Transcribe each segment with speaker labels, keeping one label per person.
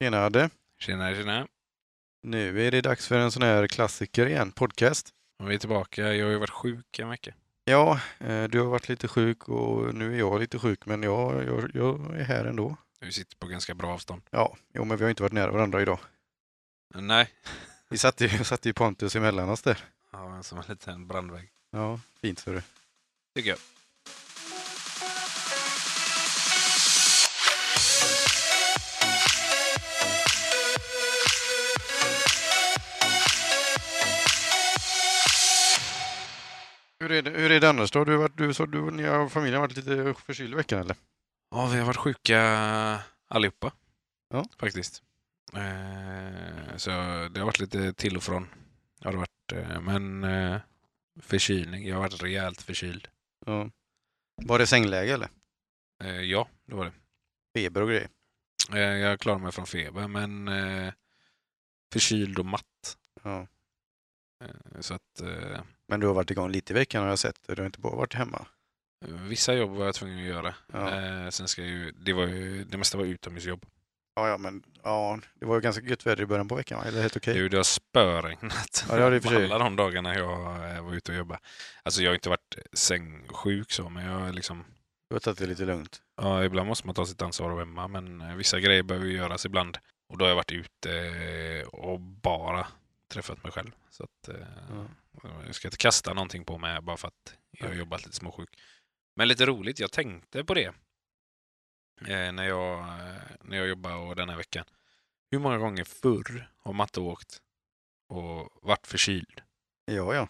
Speaker 1: Tjena Adde!
Speaker 2: Tjena, tjena.
Speaker 1: Nu är det dags för en sån här klassiker igen, podcast.
Speaker 2: Ja, Vi är tillbaka. Jag har ju varit sjuk en vecka.
Speaker 1: Ja, eh, du har varit lite sjuk och nu är jag lite sjuk men jag, jag, jag är här ändå.
Speaker 2: Vi sitter på ganska bra avstånd.
Speaker 1: Ja, jo men vi har inte varit nära varandra idag.
Speaker 2: Nej.
Speaker 1: Vi satte ju, satte ju Pontus emellan oss där.
Speaker 2: Ja, men som en liten brandvägg.
Speaker 1: Ja, fint för det.
Speaker 2: Tycker jag.
Speaker 1: Hur är det, hur är det annars då? Du, har varit, du, så, du och ni har- familjen har varit lite förkyld i veckan eller?
Speaker 2: Ja, vi har varit sjuka allihopa.
Speaker 1: Ja.
Speaker 2: Faktiskt. Eh, Så det har varit lite till och från. Har det varit. eh, Men eh, förkylning. Jag har varit rejält förkyld.
Speaker 1: Ja. Var det sängläge eller?
Speaker 2: Eh, Ja, det var det.
Speaker 1: Feber och grejer?
Speaker 2: Eh, Jag klarade mig från feber, men eh, förkyld och matt.
Speaker 1: Ja.
Speaker 2: Eh, Så att eh,
Speaker 1: Men du har varit igång lite i veckan har jag sett. Du har inte bara varit hemma.
Speaker 2: Vissa jobb var jag tvungen att göra.
Speaker 1: Ja.
Speaker 2: Eh, sen ska jag ju, det, var ju, det mesta var utomhusjobb.
Speaker 1: Ja, ja men ja, det var ju ganska gött väder i början på veckan va? Eller helt okej?
Speaker 2: Du, det har spöregnat
Speaker 1: Ja, det har det i och för sig.
Speaker 2: alla de dagarna jag eh, var ute och jobbade. Alltså jag har inte varit sängsjuk så, men jag är liksom,
Speaker 1: Du har tagit det lite lugnt?
Speaker 2: ja, ibland måste man ta sitt ansvar och hemma, men eh, vissa grejer behöver ju göras ibland. Och då har jag varit ute eh, och bara träffat mig själv. Så att, eh,
Speaker 1: Ja.
Speaker 2: Jag ska inte kasta någonting på mig här bara för att jag har
Speaker 1: Mm. Nej.
Speaker 2: jobbat lite småsjuk. Men lite roligt, jag tänkte på det eh, när, jag, eh, när jag jobbade och den här veckan. Hur många gånger förr har Matte åkt och varit förkyld?
Speaker 1: Ja, ja.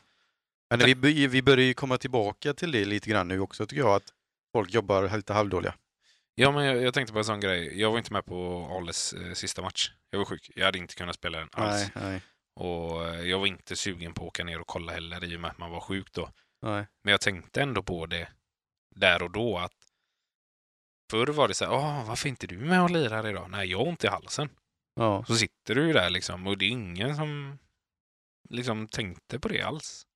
Speaker 1: Men vi, by- vi börjar ju komma tillbaka till det lite grann nu också tycker jag att folk jobbar lite halvdåliga.
Speaker 2: Ja, men jag, jag tänkte på en sån grej. Jag var inte med på Ales eh, sista match. Jag var sjuk. Jag hade inte kunnat spela den alls.
Speaker 1: Nej, nej,
Speaker 2: Och eh, jag var inte sugen på att åka ner och kolla heller i och med att man var sjuk då.
Speaker 1: nej.
Speaker 2: Men jag tänkte ändå på det där och då att förr var det så här, "Åh, varför är inte du med och lirar idag? Nej, jag har ont i halsen.
Speaker 1: Ja,
Speaker 2: Så sitter du ju där liksom och det är ingen som liksom tänkte på det alls.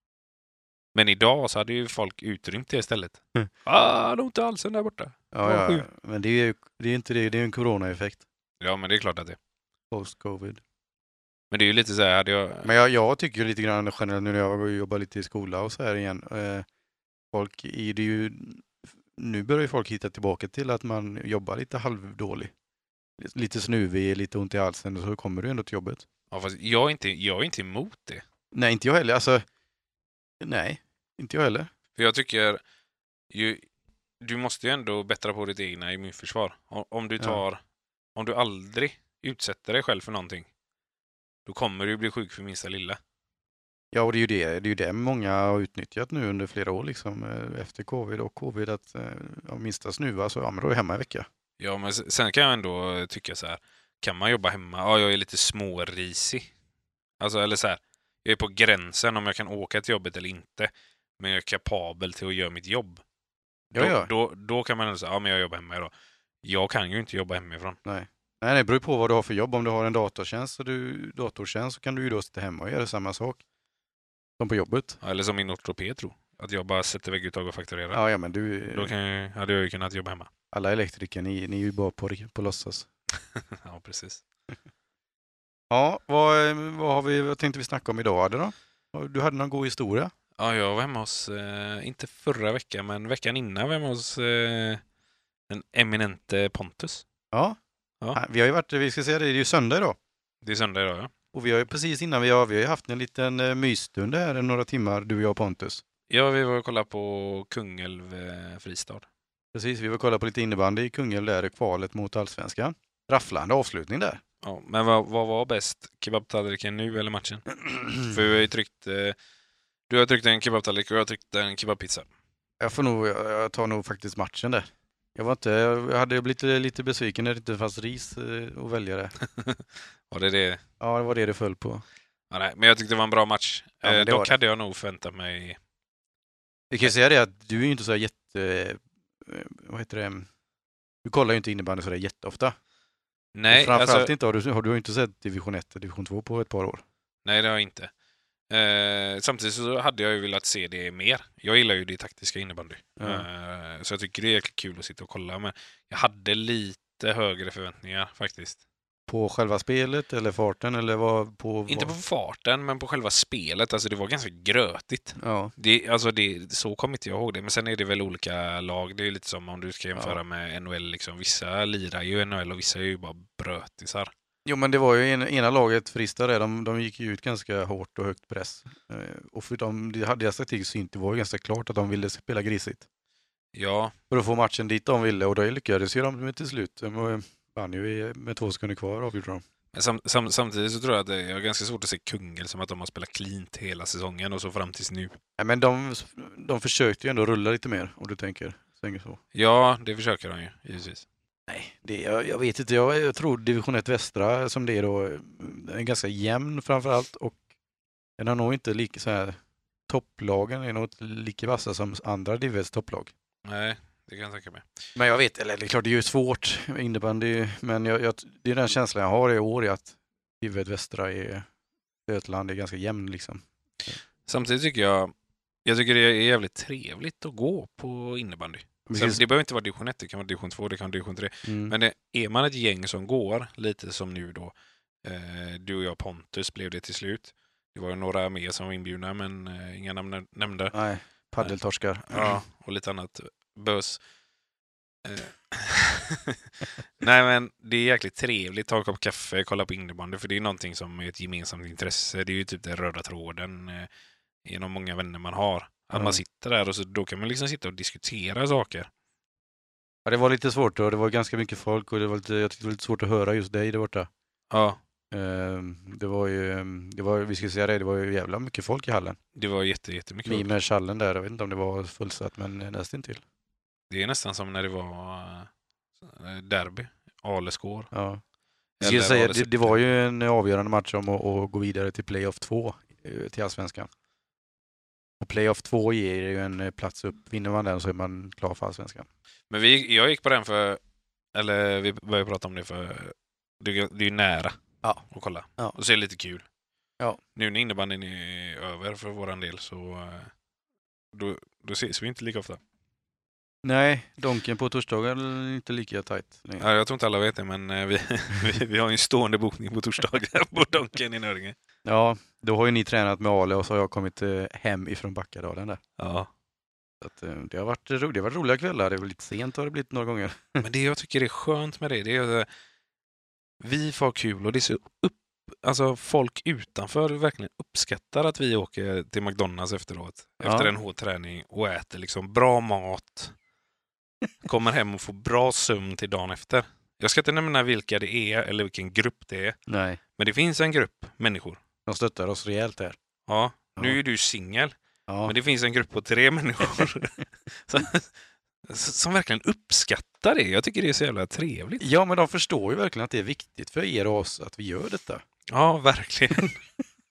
Speaker 2: Men idag så hade ju folk utrymt det istället.
Speaker 1: Mm.
Speaker 2: Ah, det är ont i halsen där borta.
Speaker 1: ja, ja.
Speaker 2: sjuk.
Speaker 1: men det är ju det är ju inte det, det är ju en coronaeffekt.
Speaker 2: Ja, men det är klart att det är.
Speaker 1: Post-covid.
Speaker 2: Men det är ju lite så här, hade jag...
Speaker 1: Men jag, jag tycker ju lite grann generellt nu när jag jobbar lite i skola och så här igen. Eh, folk är det ju, nu börjar ju folk hitta tillbaka till att man jobbar lite halvdålig. Lite snuvig, lite ont i halsen och så kommer du ändå till jobbet.
Speaker 2: Ja, fast jag, är inte, jag är inte emot det.
Speaker 1: Nej, inte jag heller. Alltså, nej, inte jag heller.
Speaker 2: För jag tycker ju, du måste ju ändå bättra på ditt egna immunförsvar. O- Om du
Speaker 1: Ja.
Speaker 2: tar, om du aldrig utsätter dig själv för någonting, då kommer du bli sjuk för minsta lilla.
Speaker 1: Ja, och det är ju det, det, är ju det många har utnyttjat nu under flera år liksom, eh, efter covid och covid att eh, ja, minsta snuva så ja, men då är jag hemma en vecka.
Speaker 2: Ja, men s- sen kan jag ändå eh, tycka så här, kan man jobba hemma? Ja, jag är lite smårisig. Alltså, eller så här, jag är på gränsen om jag kan åka till jobbet eller inte, men jag är kapabel till att göra mitt jobb.
Speaker 1: Ja,
Speaker 2: då,
Speaker 1: ja.
Speaker 2: Då, då kan man ändå säga, ja, men jag jobbar hemma idag. Jag kan ju inte jobba hemifrån.
Speaker 1: Nej, nej, det beror ju på vad du har för jobb. Om du har en datortjänst, och du, datortjänst så kan du ju då sitta hemma och göra samma sak som på jobbet.
Speaker 2: Eller som min ortoped tror, att jag bara sätter vägguttag och fakturerar.
Speaker 1: Ja, ja men du,
Speaker 2: Då kan jag, hade jag ju kunnat jobba hemma.
Speaker 1: alla elektriker, ni, ni är ju bara på, på låtsas.
Speaker 2: ja, precis.
Speaker 1: Ja, vad, vad, har vi, vad tänkte vi snacka om idag Adde, då? Du hade någon god historia?
Speaker 2: Ja, jag var hemma hos, eh, inte förra veckan, men veckan innan var jag hemma hos eh, den eminente Pontus.
Speaker 1: Ja.
Speaker 2: Ja.
Speaker 1: Nej, Vi har ju varit, vi ska säga det, det är ju söndag idag.
Speaker 2: Det är söndag idag, ja.
Speaker 1: Och vi har ju precis innan vi har, vi har ju haft en liten eh, mysstund här några timmar, du och jag och Pontus.
Speaker 2: Ja, vi var och kollade på Kungälv eh, Fristad.
Speaker 1: Precis, vi var och kollade på lite innebandy i Kungälv där i kvalet mot allsvenskan. Rafflande avslutning där.
Speaker 2: Ja, men vad, vad var bäst? Kebabtallriken nu eller matchen? För vi har ju tryckt, eh, du har tryckt en kebabtallrik och jag har tryckt en kebabpizza.
Speaker 1: Jag får nog, jag jag tar nog faktiskt matchen där. Jag var inte, jag hade blivit lite, lite besviken när det inte fanns ris eh, att välja där.
Speaker 2: Var det det?
Speaker 1: Ja, det var det det föll på.
Speaker 2: Ja, nej, men jag tyckte det var en bra match.
Speaker 1: Ja, men
Speaker 2: eh,
Speaker 1: det var
Speaker 2: dock
Speaker 1: det.
Speaker 2: hade jag nog förväntat mig...
Speaker 1: Vi kan ju säga det att du är ju inte så här jätte, eh, vad heter det, du kollar ju inte innebandy sådär jätteofta.
Speaker 2: Nej,
Speaker 1: Framförallt
Speaker 2: alltså,
Speaker 1: inte, har du, har du ju inte sett division 1 och division 2 på ett par år.
Speaker 2: Nej, det har jag inte. Eh, samtidigt så hade jag ju velat se det mer. Jag gillar ju det taktiska innebandy.
Speaker 1: Ja.
Speaker 2: Eh, så jag tycker det är jäkligt kul att sitta och kolla. Men jag hade lite högre förväntningar faktiskt.
Speaker 1: På själva spelet eller farten eller vad? På,
Speaker 2: Inte på
Speaker 1: vad?
Speaker 2: farten, men på själva spelet. Alltså det var ganska grötigt.
Speaker 1: Ja,
Speaker 2: Det, alltså det, så kommer inte jag ihåg det. Men sen är det väl olika lag. Det är ju lite som om du ska jämföra
Speaker 1: Ja.
Speaker 2: med NHL. Liksom. Vissa lirar ju NHL och vissa är ju bara brötisar.
Speaker 1: Jo, men det var ju en, ena laget, Fristad, där, de, de gick ju ut ganska hårt och högt press. Eh, och för de, de- deras taktik syntes, det var ju ganska klart att de ville spela grisigt.
Speaker 2: Ja,
Speaker 1: För att få matchen dit de ville och det lyckades ju de med till slut. De var- vann ju i- med två sekunder kvar avgjorde de.
Speaker 2: men sam, sam, samtidigt så tror jag att det- jag har ganska svårt att se Kungel som att de har spelat cleant hela säsongen och så fram tills nu.
Speaker 1: Nej, men de, de försökte ju ändå rulla lite mer, om du tänker. Svänger så.
Speaker 2: Ja, det försöker de ju givetvis.
Speaker 1: Nej, det, jag, jag vet inte. Jag, jag tror division 1 västra som det är då, den är ganska jämn framför allt och den har nog inte lika så här, topplagen är nog inte lika vassa som andra div 1 topplag.
Speaker 2: Nej, det kan jag tänka mig.
Speaker 1: Men jag vet, eller det är klart det är ju svårt med innebandy, men jag, jag, det är den känslan jag har i år i att div 1 västra är Götaland är ganska jämn liksom.
Speaker 2: Samtidigt tycker jag jag tycker det är jävligt trevligt att gå på innebandy. Sen,
Speaker 1: Precis.
Speaker 2: det behöver inte vara division 1, det kan vara division 2, det kan vara division 3.
Speaker 1: Mm.
Speaker 2: Men det, är man ett gäng som går, lite som nu då, eh, du och jag Pontus blev det till slut. Det var ju några mer som var inbjudna, men eh, inga namn nämnda.
Speaker 1: Nej, paddeltorskar.
Speaker 2: Ja, och lite annat bös. Eh, Nej, men det är jäkligt trevligt. Ta en kopp kaffe, kolla på innebandy, för det är någonting som är ett gemensamt intresse. Det är ju typ den röda tråden eh, genom många vänner man har. Att
Speaker 1: Mm.
Speaker 2: man sitter där och så, då kan man liksom sitta och diskutera saker.
Speaker 1: Ja, det var lite svårt och det var ganska mycket folk och det var lite, jag tyckte det var lite svårt att höra just dig där borta.
Speaker 2: Ja,
Speaker 1: Ehm, Det var ju, ehm, det var, vi ska säga det, det var ju jävla mycket folk i hallen.
Speaker 2: det var jätte, jättemycket. folk.
Speaker 1: Mimershallen där, jag vet inte om det var fullsatt men eh, nästan till.
Speaker 2: Det är nästan som när det var eh, derby. Alesgård.
Speaker 1: Ja. Jag
Speaker 2: Eller
Speaker 1: skulle säga,
Speaker 2: var
Speaker 1: det, det var ju en avgörande match om att, att gå vidare till playoff 2 eh, till allsvenskan. Och playoff 2 ger ju en eh, plats upp. Vinner man den så är man klar för allsvenskan.
Speaker 2: Men vi, jag gick på den för... Eller vi började prata om det för... Det, är- det är ju nära
Speaker 1: Ja.
Speaker 2: att kolla.
Speaker 1: Ja.
Speaker 2: Och så är det lite kul.
Speaker 1: Ja.
Speaker 2: Nu när innebandyn är över för våran del så... eh, Då, då ses vi inte lika ofta.
Speaker 1: Nej, Donken på torsdagar är inte lika tajt. längre.
Speaker 2: Ja, jag tror inte alla vet det, men eh, vi, vi, vi har ju en stående bokning på torsdagar på Donken i Nöringe.
Speaker 1: Ja, då har ju ni tränat med Ale och så har jag kommit eh, hem ifrån Backadalen där.
Speaker 2: Ja.
Speaker 1: Så att, eh, det, har varit ro, det har varit roliga kvällar. Det var lite sent har det blivit några gånger.
Speaker 2: Men det jag tycker är skönt med det, det är att vi får ha kul och det är så upp, alltså folk utanför verkligen uppskattar att vi åker till McDonalds efteråt,
Speaker 1: Ja.
Speaker 2: efter en hård träning och äter liksom bra mat, kommer hem och får bra sömn till dagen efter. Jag ska inte nämna vilka det är eller vilken grupp det är,
Speaker 1: Nej.
Speaker 2: men det finns en grupp människor.
Speaker 1: De stöttar oss rejält där.
Speaker 2: Ja,
Speaker 1: Ja.
Speaker 2: nu är du singel,
Speaker 1: Ja,
Speaker 2: men det finns en grupp på tre människor som, som verkligen uppskattar det. Jag tycker det är så jävla trevligt.
Speaker 1: ja men de förstår ju verkligen att det är viktigt för er och oss att vi gör detta.
Speaker 2: Ja, verkligen.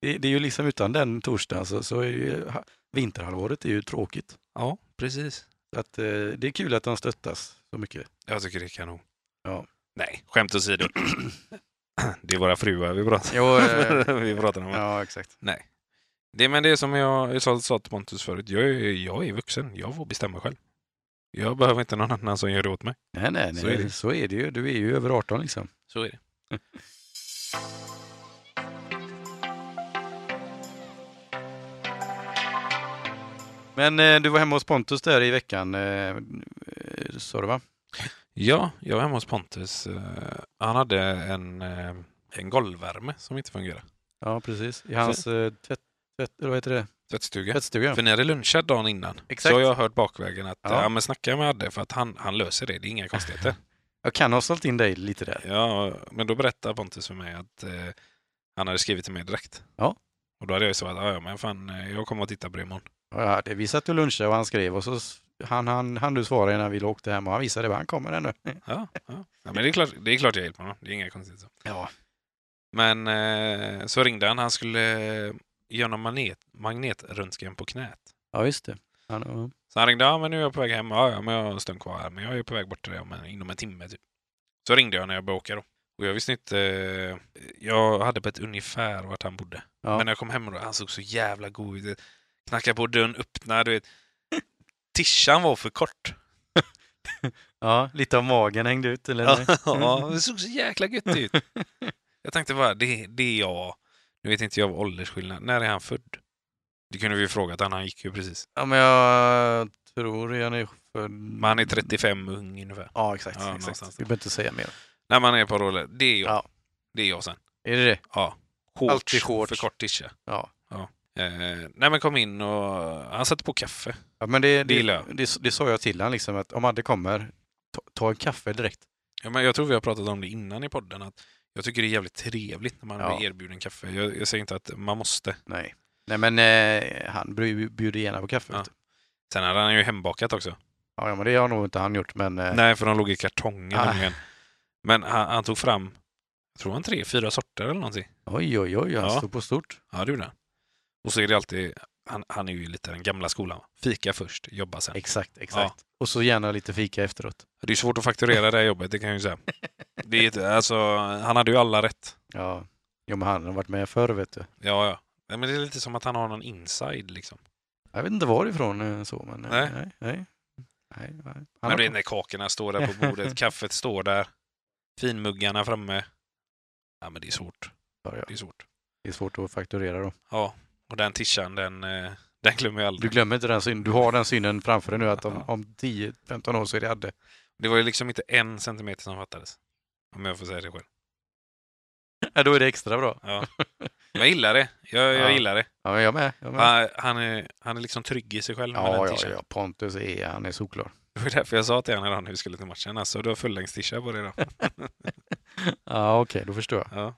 Speaker 1: Det, det är ju liksom utan den torsdagen så, så är ju, ha, vinterhalvåret är ju tråkigt.
Speaker 2: Ja, precis.
Speaker 1: Så Att, eh, det är kul att de stöttas så mycket.
Speaker 2: Jag tycker det är kanon.
Speaker 1: Ja.
Speaker 2: Nej, skämt åsido. det är våra fruar vi pratar,
Speaker 1: Jo, eh,
Speaker 2: vi pratar om.
Speaker 1: ja, exakt.
Speaker 2: Nej. Det, men det är som jag sa, sa till Pontus förut. Jag är, jag är vuxen. Jag får bestämma själv. Jag behöver inte någon annan som gör det åt mig.
Speaker 1: Nej, nej, nej.
Speaker 2: Så är det.
Speaker 1: Så är det ju. Du är ju över 18 liksom.
Speaker 2: Så är det.
Speaker 1: Men eh, du var hemma hos Pontus där i veckan, eh, eh, sa du va?
Speaker 2: Ja, jag var hemma hos Pontus. Eh, Han hade en, eh, en golvvärme som inte fungerade.
Speaker 1: Ja, precis. I hans eh, tvätt, tvätt, eller vad heter det?
Speaker 2: Tvättstuga.
Speaker 1: tvättstuga.
Speaker 2: För ni hade lunchat dagen innan.
Speaker 1: Exakt.
Speaker 2: Så jag har hört bakvägen att
Speaker 1: Ja.
Speaker 2: ja. men snacka med Adde för att han, han löser det. Det är inga konstigheter.
Speaker 1: Jag kan ha sålt in dig lite där.
Speaker 2: Ja, men då berättade Pontus för mig att eh, han hade skrivit till mig direkt.
Speaker 1: Ja.
Speaker 2: Och då hade jag ju svarat, "Ja, ja men fan, eh, jag kommer att titta på det imorgon.
Speaker 1: Ja, det, vi satt och lunchade och han skrev och så s- han, han, han du svarade innan vi åkte hem och han visade det, han kommer ännu.
Speaker 2: Ja, ja. ja men det är, klart, det är klart jag hjälper honom. Det är inga konstigt. så.
Speaker 1: Ja.
Speaker 2: Men eh, så ringde han, han skulle eh, göra någon magnet, magnetröntgen på knät.
Speaker 1: ja, just det. Han, ja.
Speaker 2: Så han ringde, ja men nu är jag på väg hem, ja, ja men jag har en stund kvar här, men jag är på väg bort till dig om en, inom en timme typ. Så ringde jag när jag började åka då. Och jag visste inte, eh, jag hade på ett ungefär vart han bodde.
Speaker 1: Ja.
Speaker 2: Men när jag kom hem då, han såg så jävla god ut. Knackade på dörren, öppnade, du vet. Tishan var för kort.
Speaker 1: Ja, lite av magen hängde ut. Eller? nej?
Speaker 2: ja, det såg så jäkla gött ut. Jag tänkte bara, det, det är jag. Nu vet inte jag vad åldersskillnad. När är han född? Det kunde vi ju frågat han, han gick ju precis.
Speaker 1: ja, men jag tror han är född...
Speaker 2: Men han är 35 ung ungefär.
Speaker 1: Ja, exakt.
Speaker 2: Ja,
Speaker 1: exakt.
Speaker 2: någonstans.
Speaker 1: Vi behöver inte säga mer.
Speaker 2: När man är på roller, det är jag.
Speaker 1: Ja.
Speaker 2: Det är jag sen.
Speaker 1: Är det det?
Speaker 2: Ja. Shorts,
Speaker 1: Alltid shorts.
Speaker 2: för kort tisha.
Speaker 1: Ja.
Speaker 2: Eh, nej men kom in och han satte på kaffe.
Speaker 1: ja men det,
Speaker 2: Det
Speaker 1: det,
Speaker 2: gillar
Speaker 1: det,
Speaker 2: jag.
Speaker 1: det, sa jag till han liksom att om Adde kommer, ta, ta en kaffe direkt.
Speaker 2: Ja, men jag tror vi har pratat om det innan i podden. Att jag tycker det är jävligt trevligt när man
Speaker 1: Ja.
Speaker 2: blir erbjuden kaffe. Jag, jag säger inte att man måste.
Speaker 1: Nej. Nej, men eh, han bru- bjuder gärna på kaffe.
Speaker 2: Ja.
Speaker 1: vet du.
Speaker 2: Sen hade han ju hembakat också.
Speaker 1: Ja. ja, men det har nog inte han gjort, men... eh,
Speaker 2: Nej, för de låg i kartonger
Speaker 1: Ah.
Speaker 2: nämligen. Men han, han tog fram, jag tror han tre, fyra sorter eller någonting.
Speaker 1: Oj, oj, oj, han
Speaker 2: Ja.
Speaker 1: stod på stort.
Speaker 2: Ja, det gjorde han. Och så är det alltid, han, han är ju lite den gamla skolan. va? Fika först, jobba sen.
Speaker 1: Exakt, exakt. Och så gärna lite fika efteråt.
Speaker 2: Det är svårt att fakturera det här jobbet, det kan jag ju säga. Det är, inte- alltså, han hade ju alla rätt.
Speaker 1: Ja, jo, men han har varit med förr, vet du.
Speaker 2: Ja, ja. Nej, Men det är lite som att han har någon inside liksom.
Speaker 1: Jag vet inte varifrån eh, så, men eh,
Speaker 2: Nej.
Speaker 1: nej, nej. nej, nej. Han
Speaker 2: Men
Speaker 1: har-
Speaker 2: det är när kakorna står där på bordet, kaffet står där, finmuggarna framme. Ja, men det är svårt.
Speaker 1: Ja, ja.
Speaker 2: Det är svårt.
Speaker 1: det är svårt att fakturera då.
Speaker 2: Ja, och den tishan, den, eh, den glömmer jag
Speaker 1: Du
Speaker 2: aldrig.
Speaker 1: glömmer inte den synen. Du har den synen framför dig nu att om,
Speaker 2: Ja.
Speaker 1: om 10-15 år så är det Adde.
Speaker 2: Det var ju liksom inte en centimeter som fattades. Om jag får säga det själv.
Speaker 1: Ja, då är det extra bra.
Speaker 2: Ja. Men jag gillar det. Jag, jag
Speaker 1: Ja.
Speaker 2: gillar det.
Speaker 1: Ja, men jag med. Jag med.
Speaker 2: Han, han, är, han är liksom trygg i sig själv med
Speaker 1: Ja,
Speaker 2: den
Speaker 1: ja,
Speaker 2: tishan.
Speaker 1: ja, Pontus är, han är solklar.
Speaker 2: Det var därför jag sa till honom när vi skulle till matchen. Alltså, du har fullängds-tisha på dig idag.
Speaker 1: Ja, okej, då förstår jag.
Speaker 2: Ja.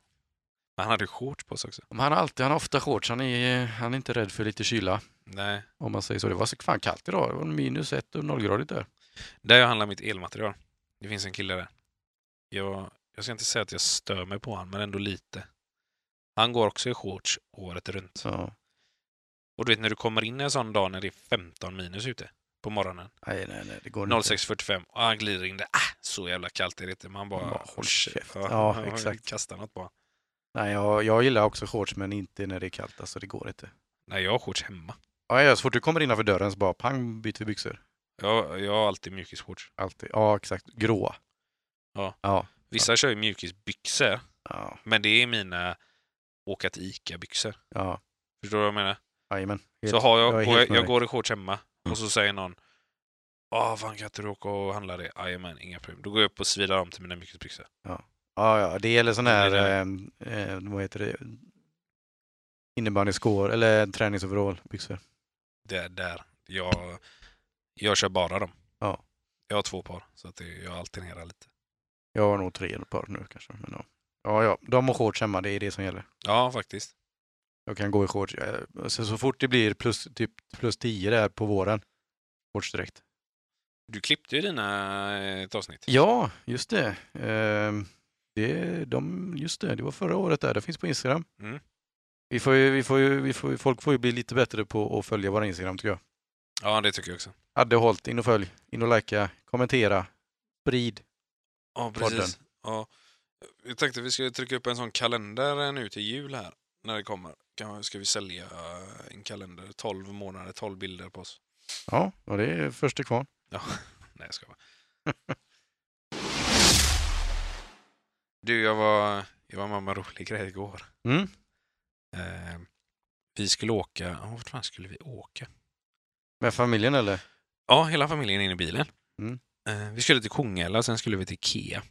Speaker 2: Men han hade ju shorts på sig också.
Speaker 1: Men han har alltid, han har ofta shorts. Han är, han är inte rädd för lite kyla,
Speaker 2: Nej.
Speaker 1: om man säger så. Det var så fan kallt idag. Det var minus ett och nollgradigt där.
Speaker 2: Där jag handlar mitt elmaterial. Det finns en kille där. Jag, jag ska inte säga att jag stör mig på honom, men ändå lite. Han går också i shorts året runt.
Speaker 1: Så.
Speaker 2: Och du vet när du kommer in en sån dag när det är 15 minus ute på morgonen.
Speaker 1: Nej, nej, nej, det går inte.
Speaker 2: 06.45 och han glider in där. Ah, så jävla kallt är det inte. Man bara...
Speaker 1: Bara, håll
Speaker 2: Shit.
Speaker 1: käft.
Speaker 2: Ja,
Speaker 1: Ja,
Speaker 2: man
Speaker 1: exakt.
Speaker 2: Kastar något på honom.
Speaker 1: Nej, jag, jag gillar också shorts, men inte när det är kallt. Alltså, det går inte.
Speaker 2: Nej, jag har shorts hemma.
Speaker 1: Ja, ja, så fort du kommer innanför dörren så bara pang byter vi byxor.
Speaker 2: Jag, jag har alltid mjukisshorts.
Speaker 1: Alltid. Ja, exakt. Gråa.
Speaker 2: Ja.
Speaker 1: Ja.
Speaker 2: Vissa kör ju mjukisbyxor,
Speaker 1: Ja.
Speaker 2: men det är mina åka till Ica-byxor.
Speaker 1: Ja.
Speaker 2: Förstår du vad jag menar?
Speaker 1: Jajamän.
Speaker 2: Så har jag,
Speaker 1: jag är
Speaker 2: går,
Speaker 1: helt
Speaker 2: jag,
Speaker 1: med
Speaker 2: jag
Speaker 1: dig. Mm.
Speaker 2: går i shorts hemma och så säger någon Ah, fan kan inte du åka och handla det? Jajamän, inga problem. Då går jag upp och svidar om till mina mjukisbyxor.
Speaker 1: Ja, ja, det gäller sån
Speaker 2: Det
Speaker 1: här,
Speaker 2: är
Speaker 1: eh, eh, vad heter det, innebandyskor eller träningsoverallbyxor.
Speaker 2: Det där. Jag, jag kör bara dem.
Speaker 1: Ja.
Speaker 2: Jag har två par, så att det, jag alternerar lite.
Speaker 1: Jag har nog tre par nu kanske. Men ja. ja, ja, de har shorts hemma, det är det som gäller.
Speaker 2: Ja, faktiskt.
Speaker 1: Jag kan gå i shorts. Eh, Så, så fort det blir plus, typ, plus 10 där på våren, shorts direkt.
Speaker 2: Du klippte ju dina eh, ett avsnitt.
Speaker 1: Ja, just det. Ehm, det, de, just det. Det var förra året där. Det finns på Instagram.
Speaker 2: Mm.
Speaker 1: Vi får ju, vi får ju, vi får, ju- folk får ju bli lite bättre på att följa våra Instagram tycker jag.
Speaker 2: Ja, det tycker jag också.
Speaker 1: Adde Holt, in och följ, in och likea, kommentera, sprid.
Speaker 2: Ja, precis. Ja. Jag tänkte vi skulle trycka upp en sån kalender nu till jul här. När det kommer. Kan- Ska vi sälja eh, en kalender? 12 månader, 12 bilder på oss.
Speaker 1: Ja, och det är första kvar.
Speaker 2: Ja, nej jag skojar bara. Du, jag var, jag var med om en rolig grej igår.
Speaker 1: Mm.
Speaker 2: Eh, vi skulle åka, ja, vart fan skulle vi åka?
Speaker 1: Med familjen eller?
Speaker 2: Ja, hela familjen är inne i bilen.
Speaker 1: Mm.
Speaker 2: Eh, vi skulle till Kungälv, sen skulle vi till Ikea.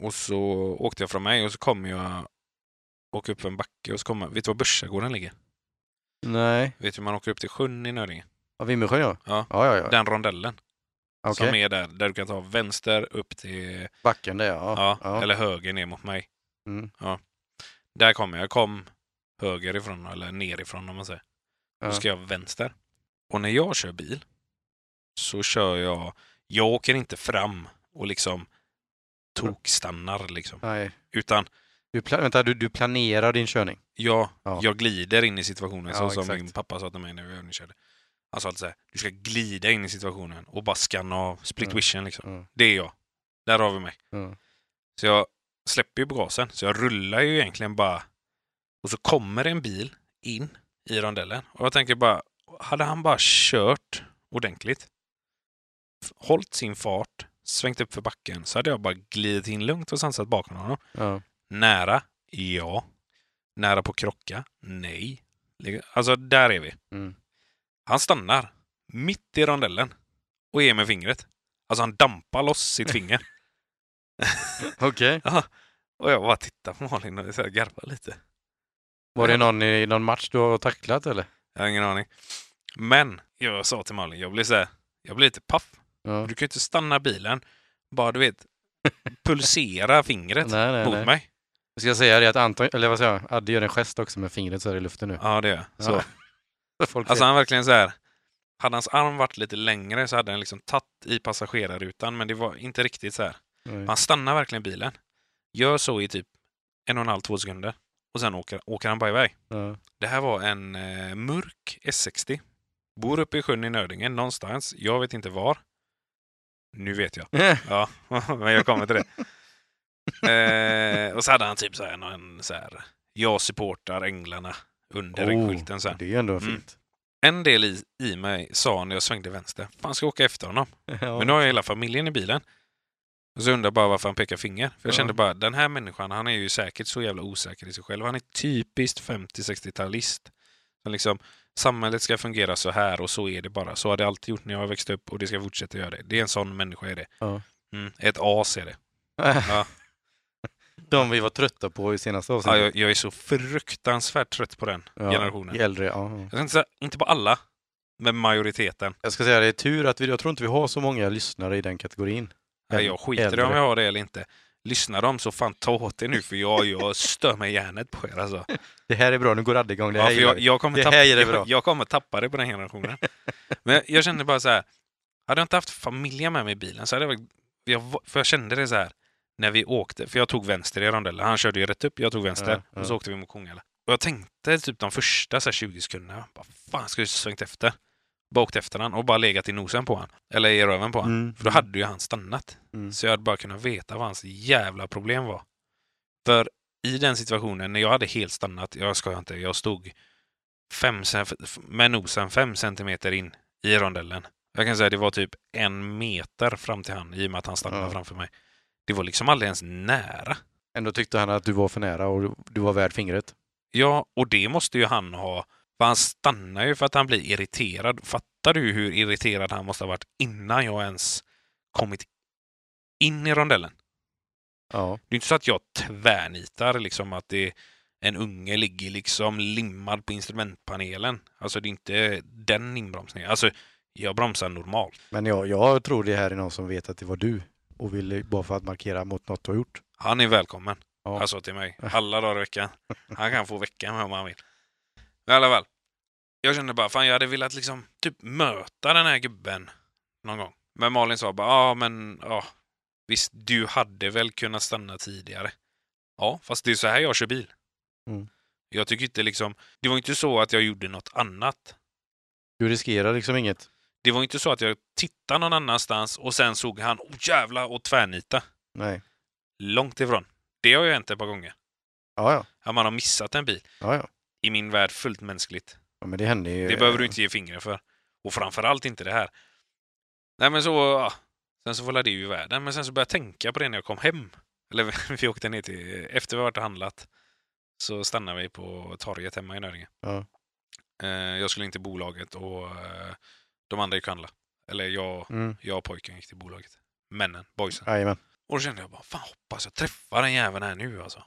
Speaker 2: Och så åkte jag från mig och så kom jag åka upp för en backe och så kommer, vet du var Börsagården ligger?
Speaker 1: Nej.
Speaker 2: Vet du hur man åker upp till sjön i Nöringe?
Speaker 1: Ja, Vimmersjö ja.
Speaker 2: Ja.
Speaker 1: ja, ja. ja.
Speaker 2: Den rondellen
Speaker 1: Okej,
Speaker 2: som är där, där du kan ta vänster upp till
Speaker 1: backen där ja.
Speaker 2: Ja,
Speaker 1: ja.
Speaker 2: eller höger ner mot mig.
Speaker 1: Mm.
Speaker 2: Ja. Där kom jag. Jag kom höger ifrån eller nerifrån om man säger. Då
Speaker 1: Ja.
Speaker 2: ska jag vänster. Och när jag kör bil så kör jag... Jag åker inte fram och liksom tokstannar liksom.
Speaker 1: Nej.
Speaker 2: Utan
Speaker 1: Du, pla- vänta, du, du planerar din körning?
Speaker 2: jag,
Speaker 1: Ja.
Speaker 2: jag glider in i situationen
Speaker 1: Ja,
Speaker 2: så som
Speaker 1: exakt.
Speaker 2: min pappa sa till mig när vi övningskörde. Han sa alltid så här, du ska glida in i situationen och bara scanna av split
Speaker 1: Mm.
Speaker 2: vision liksom.
Speaker 1: Mm.
Speaker 2: Det är jag. Där har vi mig.
Speaker 1: Mm.
Speaker 2: Så jag släpper ju på gasen. Så jag rullar ju egentligen bara. Och så kommer en bil in i rondellen. Och jag tänker bara, hade han bara kört ordentligt hållit sin fart, svängt upp för backen, så hade jag bara glidit in lugnt och sansat bakom honom.
Speaker 1: Ja.
Speaker 2: Nära? Ja. Nära på krocka? Nej. Ligga- Alltså, där är vi.
Speaker 1: Mm.
Speaker 2: Han stannar mitt i rondellen och ger mig fingret. Alltså, han dampar loss sitt finger.
Speaker 1: Okej.
Speaker 2: Och jag bara tittar på Malin och så här garvar lite.
Speaker 1: Var det någon i någon match du har tacklat eller?
Speaker 2: Jag har ingen aning. Men jag sa till Malin, jag blev så här, jag blev lite paff.
Speaker 1: Ja.
Speaker 2: Du kan ju inte stanna bilen, bara du vet, pulsera fingret
Speaker 1: Nej, nej,
Speaker 2: mot
Speaker 1: nej.
Speaker 2: mig.
Speaker 1: Jag ska säga det att Anton, eller vad säger jag, Adde gör en gest också med fingret så här i luften nu.
Speaker 2: Ja, det gör jag. Så.
Speaker 1: Ja. Folk
Speaker 2: Alltså han verkligen så här. Hade hans arm varit lite längre så hade han liksom tagit i passagerarrutan, men det var inte riktigt så här.
Speaker 1: Nej.
Speaker 2: Han stannar verkligen bilen, gör så i typ en och en halv, två sekunder och sen åker, åker han bara iväg.
Speaker 1: Ja.
Speaker 2: Det här var en eh, mörk S60. Bor uppe i sjön i Nödingen någonstans. Jag vet inte var. Nu vet jag. Ja, men jag kommer till det. Eh, och så hade han typ så här, någon, så här jag supportar Änglarna under
Speaker 1: Oh,
Speaker 2: skylten. Så här.
Speaker 1: Det är ändå
Speaker 2: Mm.
Speaker 1: fint.
Speaker 2: En del i, i mig sa när jag svängde vänster, fan ska jag åka efter honom?
Speaker 1: Ja.
Speaker 2: Men nu har jag hela familjen i bilen. Och så undrar jag bara varför han pekar finger. För jag
Speaker 1: Ja.
Speaker 2: kände bara, den här människan, han är ju säkert så jävla osäker i sig själv. Han är typiskt 50-60-talist. Som Liksom, samhället ska fungera så här och så är det bara. Så har det alltid gjort när jag växte upp och det ska fortsätta göra det. Det är en sån människa är det.
Speaker 1: Ja.
Speaker 2: Mm, ett as är det. Ja.
Speaker 1: De vi var trötta på i senaste
Speaker 2: Ja,
Speaker 1: avsnittet.
Speaker 2: jag, jag är så fruktansvärt trött på den
Speaker 1: Ja,
Speaker 2: generationen.
Speaker 1: i Äldre, ja. ja.
Speaker 2: Jag ska inte säga, inte på alla, men majoriteten.
Speaker 1: Jag ska säga det är tur att vi, jag tror inte vi har så många lyssnare i den kategorin.
Speaker 2: Nej, jag skiter i
Speaker 1: äldre.
Speaker 2: om jag har det eller inte. Lyssnar de så fan ta åt er nu för jag, jag stör mig hjärnet på er alltså.
Speaker 1: Det här är bra, nu går Adde igång. Det
Speaker 2: Ja,
Speaker 1: här
Speaker 2: för
Speaker 1: gillar
Speaker 2: jag,
Speaker 1: vi.
Speaker 2: jag, kommer
Speaker 1: Det
Speaker 2: tappa,
Speaker 1: här är det bra.
Speaker 2: jag, jag kommer tappa det på den generationen. Men jag, jag kände bara så här, hade jag inte haft familjen med mig i bilen så hade jag, varit- jag var- För jag kände det så här när vi åkte, för jag tog vänster i rondellen. Han körde ju rätt upp, jag tog vänster
Speaker 1: Ja, ja.
Speaker 2: och så åkte vi mot Kungälv. Och jag tänkte typ de första så här 20 sekunderna, vad fan ska jag svängt efter? Bara åkt efter han och bara legat i nosen på han. Eller i röven på han.
Speaker 1: Mm.
Speaker 2: För då hade ju han stannat.
Speaker 1: Mm.
Speaker 2: Så jag hade bara kunnat veta vad hans jävla problem var. För i den situationen, när jag hade helt stannat, jag skojar inte, jag stod fem, cen- f- med nosen fem centimeter in i rondellen. Jag kan säga att det var typ en meter fram till han i och med att han stannade
Speaker 1: Ja.
Speaker 2: framför mig. Det var liksom aldrig ens nära.
Speaker 1: Ändå tyckte han att du var för nära och du- du var värd fingret.
Speaker 2: Ja, och det måste ju han ha. För han stannar ju för att han blir irriterad. Fattar du hur irriterad han måste ha varit innan jag ens kommit in i rondellen?
Speaker 1: Ja.
Speaker 2: Det är inte så att jag tvärnitar liksom att det en unge ligger liksom limmad på instrumentpanelen. Alltså det är inte den inbromsningen. Alltså jag bromsar normalt.
Speaker 1: Men jag, jag tror det här är någon som vet att det var du och ville bara för att markera mot något du har gjort.
Speaker 2: Han är välkommen.
Speaker 1: Ja.
Speaker 2: Alltså till mig. Alla dagar i veckan. Han kan få veckan med om han vill. Men i alla fall. Jag kände bara, fan jag hade velat liksom typ möta den här gubben någon gång. Men Malin sa bara, ja men ja. Visst, du hade väl kunnat stanna tidigare. Ja, fast det är så här jag kör bil.
Speaker 1: Mm.
Speaker 2: Jag tycker inte liksom, det var inte så att jag gjorde något annat.
Speaker 1: Du riskerar liksom inget.
Speaker 2: Det var inte så att jag tittade någon annanstans och sen såg han, oh jävla och tvärnita.
Speaker 1: Nej.
Speaker 2: Långt ifrån. Det har ju hänt ett par gånger.
Speaker 1: Ja, ja.
Speaker 2: Att man har missat en bil.
Speaker 1: ja, ja.
Speaker 2: i min värld fullt mänskligt.
Speaker 1: ja men det händer ju.
Speaker 2: Det behöver du inte ge fingrar för. Och framförallt inte det här. Nej men så, ja. Sen så var det ju i världen. Men sen så började jag tänka på det när jag kom hem. Eller vi åkte ner till, efter vi varit och handlat. Så stannade vi på torget hemma i Nöringe.
Speaker 1: Ja.
Speaker 2: Eh, Jag skulle in till bolaget och eh, de andra gick och handlade. Eller jag,
Speaker 1: Mm.
Speaker 2: jag och pojken gick till bolaget. Männen, boysen.
Speaker 1: Jajamän.
Speaker 2: Och då kände jag bara, fan hoppas jag träffar den jäveln här nu alltså.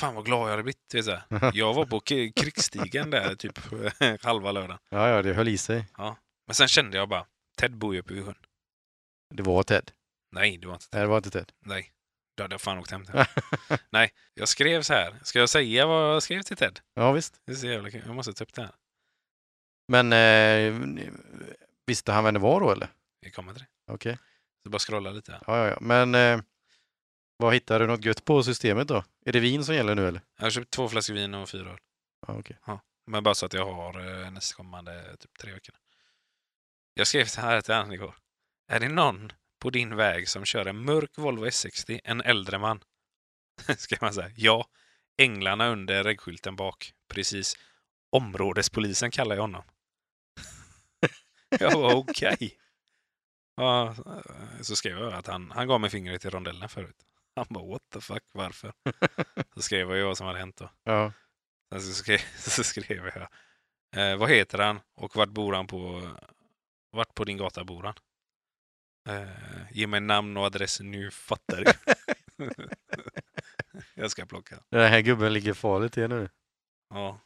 Speaker 2: Fan vad glad jag hade blivit. du Vet så här. Jag var på k- krigsstigen där typ halva lördagen.
Speaker 1: Ja, ja, det höll i sig.
Speaker 2: Men sen kände jag bara, Ted bor ju uppe vid sjön.
Speaker 1: Det var Ted.
Speaker 2: Nej, det var inte Ted.
Speaker 1: Nej, det var inte Ted.
Speaker 2: Nej. Då hade jag fan åkt hem till honom. Nej, jag skrev så här. Ska jag säga vad jag skrev till Ted?
Speaker 1: Ja, visst.
Speaker 2: Det är så jävla kul. Jag måste ta upp det här.
Speaker 1: Men eh, visste han vem det var då eller?
Speaker 2: Vi kommer till det.
Speaker 1: Okej.
Speaker 2: Så bara scrolla lite här.
Speaker 1: Ja, ja, ja. Men eh, vad hittar du något gött på systemet då? Är det vin som gäller nu eller?
Speaker 2: Jag har köpt två flaskor vin och fyra öl.
Speaker 1: Ja, okej.
Speaker 2: Men bara så att jag har eh, nästkommande typ tre veckor. Jag skrev så här till han igår. Är det någon på din väg som kör en mörk Volvo S60, en äldre man? Ska man säga. Ja. Änglarna under reggskylten bak. Precis. Områdespolisen kallar jag honom. jag var okej. Ja, eh, så skrev jag att han, han gav mig fingret i rondellen förut. Han bara what the fuck, varför? Så skrev jag ju vad som hade hänt då.
Speaker 1: Ja.
Speaker 2: Sen så skrev, så skrev jag. Eh, vad heter han och vart bor han på? Vart på din gata bor han? Eh, ge mig namn och adress nu fattar du. jag ska plocka.
Speaker 1: Den här gubben ligger farligt i nu.
Speaker 2: Ja.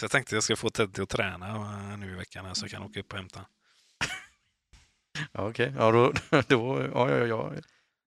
Speaker 2: Så jag tänkte jag ska få Teddy att träna eh, nu i veckan här så jag kan åka upp och hämta han.
Speaker 1: Ja, okej. Ja, då, då, ja, ja, ja.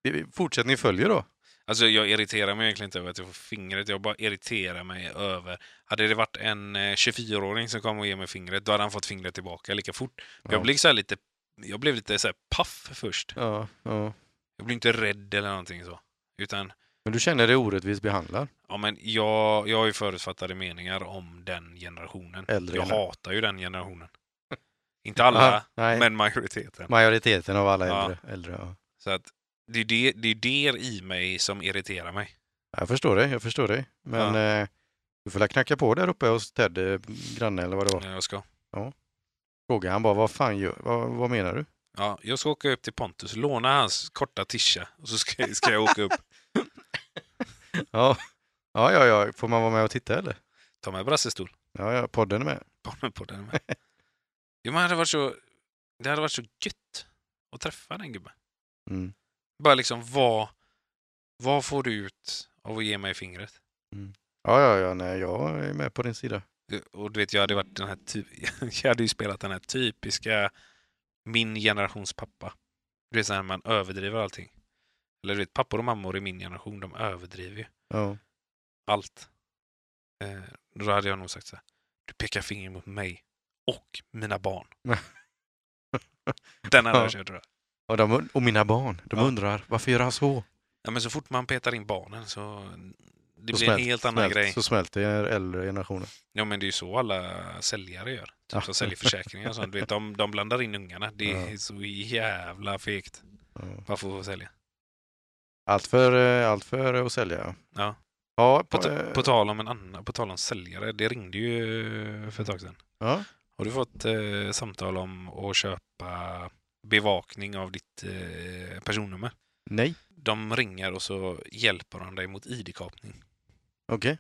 Speaker 1: Det- Fortsättning följer då.
Speaker 2: Alltså jag irriterar mig egentligen inte över att jag får fingret. Jag bara irriterar mig över. Hade det varit en eh, 24-åring som kom och gav mig fingret, då hade han fått fingret tillbaka lika fort.
Speaker 1: Ja.
Speaker 2: Jag blev så här lite, jag blev lite så här paff först.
Speaker 1: Ja, ja.
Speaker 2: Jag blir inte rädd eller någonting så. Utan,
Speaker 1: Men du känner dig orättvist behandlad?
Speaker 2: ja men jag, jag har ju förutfattade meningar om den generationen.
Speaker 1: Äldre
Speaker 2: jag
Speaker 1: eller?
Speaker 2: hatar ju den generationen. inte alla,
Speaker 1: Ja, nej.
Speaker 2: men majoriteten.
Speaker 1: Majoriteten av alla
Speaker 2: Ja.
Speaker 1: äldre. äldre ja.
Speaker 2: Så att det är det, det är det i mig som irriterar mig.
Speaker 1: Jag förstår dig, jag förstår dig. Men eh, du får väl knacka på där uppe hos Ted, eh, granne eller vad det var.
Speaker 2: När jag ska.
Speaker 1: Fråga han bara, vad fan gör, vad, vad menar du?
Speaker 2: Ja, jag ska åka upp till Pontus, låna hans korta tischa och så ska, ska jag åka upp.
Speaker 1: Ja. ja, ja, ja, får man vara med och titta eller?
Speaker 2: Ta med brassestol.
Speaker 1: Ja, ja, podden är med.
Speaker 2: Barnen på den med. Jo, men det hade varit så, det hade varit så gött att träffa den gubben.
Speaker 1: Mm.
Speaker 2: Bara liksom, vad, vad får du ut av att ge mig fingret?
Speaker 1: Ja, ja, ja, nej, jag är med på din sida.
Speaker 2: Och du vet, jag hade, varit den här ty- jag hade ju spelat den här typiska min generations pappa. Du vet, så här man överdriver allting. Eller du vet, pappor och mammor i min generation, de överdriver ju
Speaker 1: Ja,
Speaker 2: allt. Eh, då hade jag nog sagt så här. Du pekar finger mot mig och mina barn. den hade
Speaker 1: Ja.
Speaker 2: jag kört tror jag.
Speaker 1: och, de, och mina barn, de
Speaker 2: Ja.
Speaker 1: undrar, varför gör han så?
Speaker 2: Ja, men så fort man petar in barnen så det
Speaker 1: Så
Speaker 2: blir en
Speaker 1: smält-
Speaker 2: helt annan
Speaker 1: smält-
Speaker 2: grej.
Speaker 1: Så smälter er äldre generationen.
Speaker 2: Ja, men det är ju så alla säljare gör. Typ
Speaker 1: Ja.
Speaker 2: som säljer försäkringar och sånt. Du vet, de, de blandar in ungarna. Det är
Speaker 1: Ja.
Speaker 2: så jävla fegt.
Speaker 1: Ja.
Speaker 2: Bara för att sälja.
Speaker 1: Allt för, eh, allt för att sälja.
Speaker 2: Ja.
Speaker 1: Ja,
Speaker 2: På,
Speaker 1: på,
Speaker 2: ta-
Speaker 1: eh,
Speaker 2: på, tal om en annan, på tal om säljare, det ringde ju för ett tag sedan.
Speaker 1: ja.
Speaker 2: Har du fått eh, samtal om att köpa bevakning av ditt eh, personnummer?
Speaker 1: Nej,
Speaker 2: De ringer och så hjälper de dig mot ID-kapning.
Speaker 1: okej.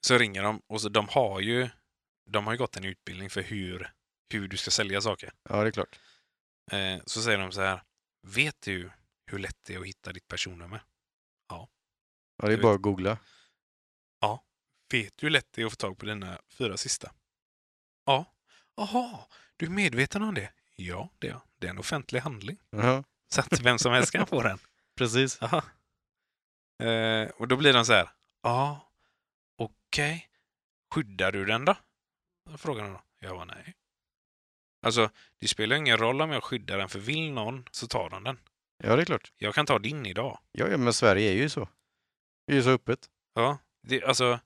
Speaker 2: Så ringer de och så de har ju, de har ju gått en utbildning för hur, hur du ska sälja saker.
Speaker 1: Ja, det är klart.
Speaker 2: Eh, så säger de så här. Vet du hur lätt det är att hitta ditt personnummer?
Speaker 1: Ja, det är
Speaker 2: Du
Speaker 1: bara att googla.
Speaker 2: Vet du hur lätt det är att få tag på dina fyra sista? Ja. Jaha, du är medveten om det? Ja, det är jag. Det är en offentlig handling.
Speaker 1: Ja,
Speaker 2: Så att vem som helst kan få den.
Speaker 1: precis.
Speaker 2: Aha. Eh, och då blir de så här. Ja, okej. Skyddar du den då? Då Frågar de då. Jag var nej. Alltså, det spelar ingen roll om jag skyddar den, för vill någon så tar de den.
Speaker 1: Ja, det är klart.
Speaker 2: Jag kan ta din idag.
Speaker 1: Ja, ja, men Sverige är ju så. Det är ju så öppet.
Speaker 2: Ja, det, alltså,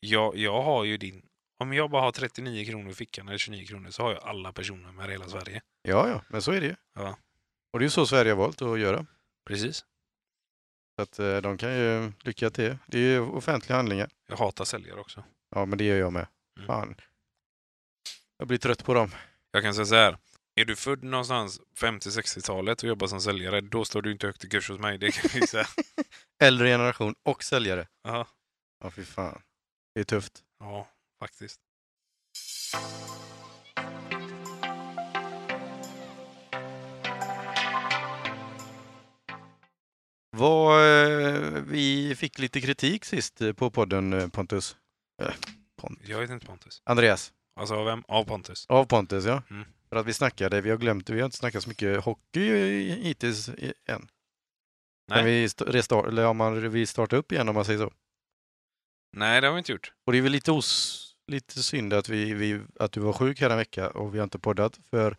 Speaker 2: jag, jag har ju din. Om jag bara har 39 kronor i fickan eller 29 kronor så har jag alla personnummer i hela Sverige.
Speaker 1: Ja, ja, men så är det ju.
Speaker 2: Ja.
Speaker 1: Och det är ju så Sverige har valt att göra.
Speaker 2: Precis.
Speaker 1: Så att eh, de kan ju lycka till. Det är ju offentliga handlingar.
Speaker 2: Jag hatar säljare också.
Speaker 1: Ja, men det gör jag med.
Speaker 2: Mm.
Speaker 1: Fan. Jag blir trött på dem.
Speaker 2: Jag kan säga så här. Är du född någonstans 50-60-talet och jobbar som säljare, då står du inte högt i kurs hos mig. Det kan jag ju säga.
Speaker 1: Äldre generation och säljare.
Speaker 2: Ja.
Speaker 1: Ja, fy fan. Det är tufft.
Speaker 2: Ja, faktiskt.
Speaker 1: Vad, eh, vi fick lite kritik sist eh, på podden eh, Pontus. Eh, Pon-
Speaker 2: Jag heter inte Pontus.
Speaker 1: Andreas.
Speaker 2: Alltså av vem? Av Pontus.
Speaker 1: Av Pontus, ja.
Speaker 2: Mm.
Speaker 1: För att vi snackade, vi har glömt, vi har inte snackat så mycket hockey i- hittills i- än.
Speaker 2: Nej.
Speaker 1: Kan vi st- restart, eller om man, vi startar upp igen om man säger så.
Speaker 2: Nej, det har vi inte gjort.
Speaker 1: Och det är väl lite, os, lite synd att, vi, vi, att du var sjuk här en vecka och vi har inte poddat för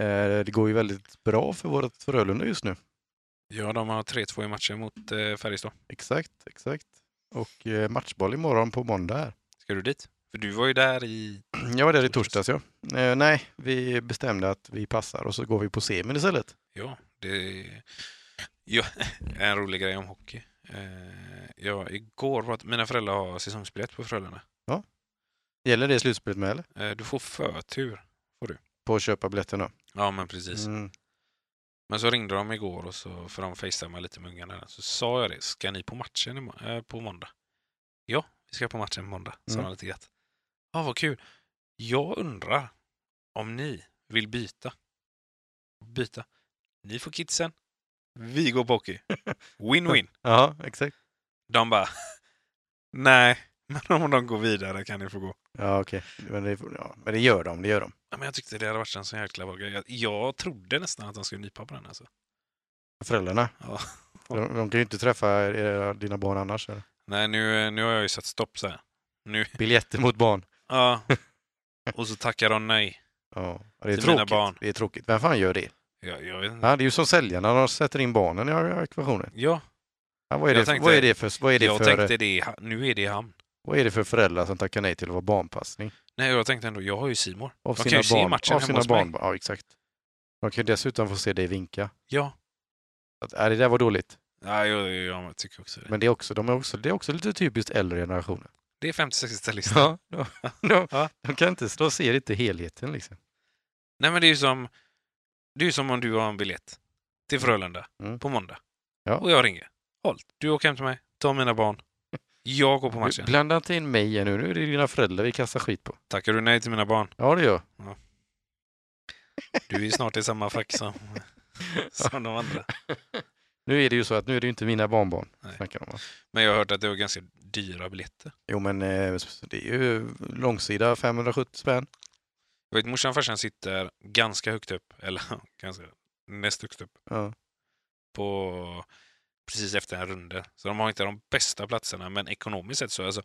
Speaker 1: eh, det går ju väldigt bra för vårt Frölunda just nu.
Speaker 2: Ja, de har 3-2 i matchen mot eh, Färjestad.
Speaker 1: Exakt, exakt. Och eh, matchboll imorgon på måndag här.
Speaker 2: Ska du dit? För du var ju där i...
Speaker 1: Jag var där i torsdags ja. Eh, nej, vi bestämde att vi passar och så går vi på semin istället.
Speaker 2: Ja, det... Ja, en rolig grej om hockey. Eh, ja, igår var att mina föräldrar har säsongsbiljett på Frölunda.
Speaker 1: Gäller det slutspelet med eller?
Speaker 2: Eh, du får förtur.
Speaker 1: På att köpa biljetterna.
Speaker 2: Ja, men precis.
Speaker 1: Mm.
Speaker 2: Men så ringde de igår och så, för de facetimade lite med ungarna. Så sa jag det, ska ni på matchen i må- eh, på måndag? Ja, vi ska på matchen på måndag, sa
Speaker 1: Mm.
Speaker 2: de lite glatt. Ja, vad kul. Jag undrar om ni vill byta. Byta. Ni får kidsen. Vi går på hockey. Win-win.
Speaker 1: Ja, exakt.
Speaker 2: De bara, nej, men om de går vidare kan ni få gå.
Speaker 1: Ja, okej. Men, det, ja, men det gör de, det gör de.
Speaker 2: Ja, men jag tyckte det hade varit en så jäkla bra grej. Jag, jag trodde nästan att de skulle nypa på den alltså.
Speaker 1: Föräldrarna.
Speaker 2: Ja.
Speaker 1: De, de kan ju inte träffa era, dina barn annars. Eller?
Speaker 2: Nej, nu, nu har jag ju satt stopp så här. Nu,
Speaker 1: Biljetter mot barn.
Speaker 2: ja. Och så tackar de nej.
Speaker 1: Ja, det är
Speaker 2: Till mina
Speaker 1: tråkigt.
Speaker 2: barn.
Speaker 1: Det är tråkigt. Vem fan gör det?
Speaker 2: Jag, jag vet inte.
Speaker 1: Ja, det är ju som säljarna, de sätter in barnen i ekvationen.
Speaker 2: Ja,
Speaker 1: Ja, vad, är
Speaker 2: Jag
Speaker 1: det,
Speaker 2: tänkte-
Speaker 1: vad, är det för, vad, är det
Speaker 2: jag
Speaker 1: för,
Speaker 2: tänkte det. i ha- Nu är det i hamn.
Speaker 1: vad är det för föräldrar som tackar nej till att vara barnpassning?
Speaker 2: Nej, jag tänkte ändå, jag har ju Simor.
Speaker 1: Av
Speaker 2: De kan ju se matchen
Speaker 1: av
Speaker 2: hemma
Speaker 1: sina
Speaker 2: hos
Speaker 1: barn. Ja, exakt. De kan ju dessutom få se dig vinka.
Speaker 2: Ja.
Speaker 1: Att, äh, det där var dåligt.
Speaker 2: Nej, jag, jag, jag tycker också det.
Speaker 1: Men det är också, de är också, det är också lite typiskt äldre generationen.
Speaker 2: Det är 50-60-talister.
Speaker 1: Ja, de, de,
Speaker 2: Ja.
Speaker 1: de, kan inte, de ser inte helheten liksom.
Speaker 2: Nej, men det är ju som, det är ju som om du har en biljett till Frölunda
Speaker 1: Mm.
Speaker 2: på måndag.
Speaker 1: Ja.
Speaker 2: Och jag ringer. Holt, du åker hem till mig, tar mina barn. Jag går på
Speaker 1: Du,
Speaker 2: matchen.
Speaker 1: Blanda inte in mig igen nu, nu är det dina föräldrar vi kastar skit på.
Speaker 2: Tackar du nej till mina barn?
Speaker 1: Ja, det gör
Speaker 2: Du är ju snart i samma fack som, som de andra.
Speaker 1: Nu är det ju så att nu är det ju inte mina barnbarn.
Speaker 2: Nej.
Speaker 1: Snackar de om.
Speaker 2: Men jag har hört att det var ganska dyra biljetter.
Speaker 1: Jo, men eh, det är ju långsida 570 spänn.
Speaker 2: Jag vet morsan och farsan sitter ganska högt upp, eller ganska näst högst upp,
Speaker 1: Ja.
Speaker 2: på precis efter en runda. Så de har inte de bästa platserna, men ekonomiskt sett så alltså,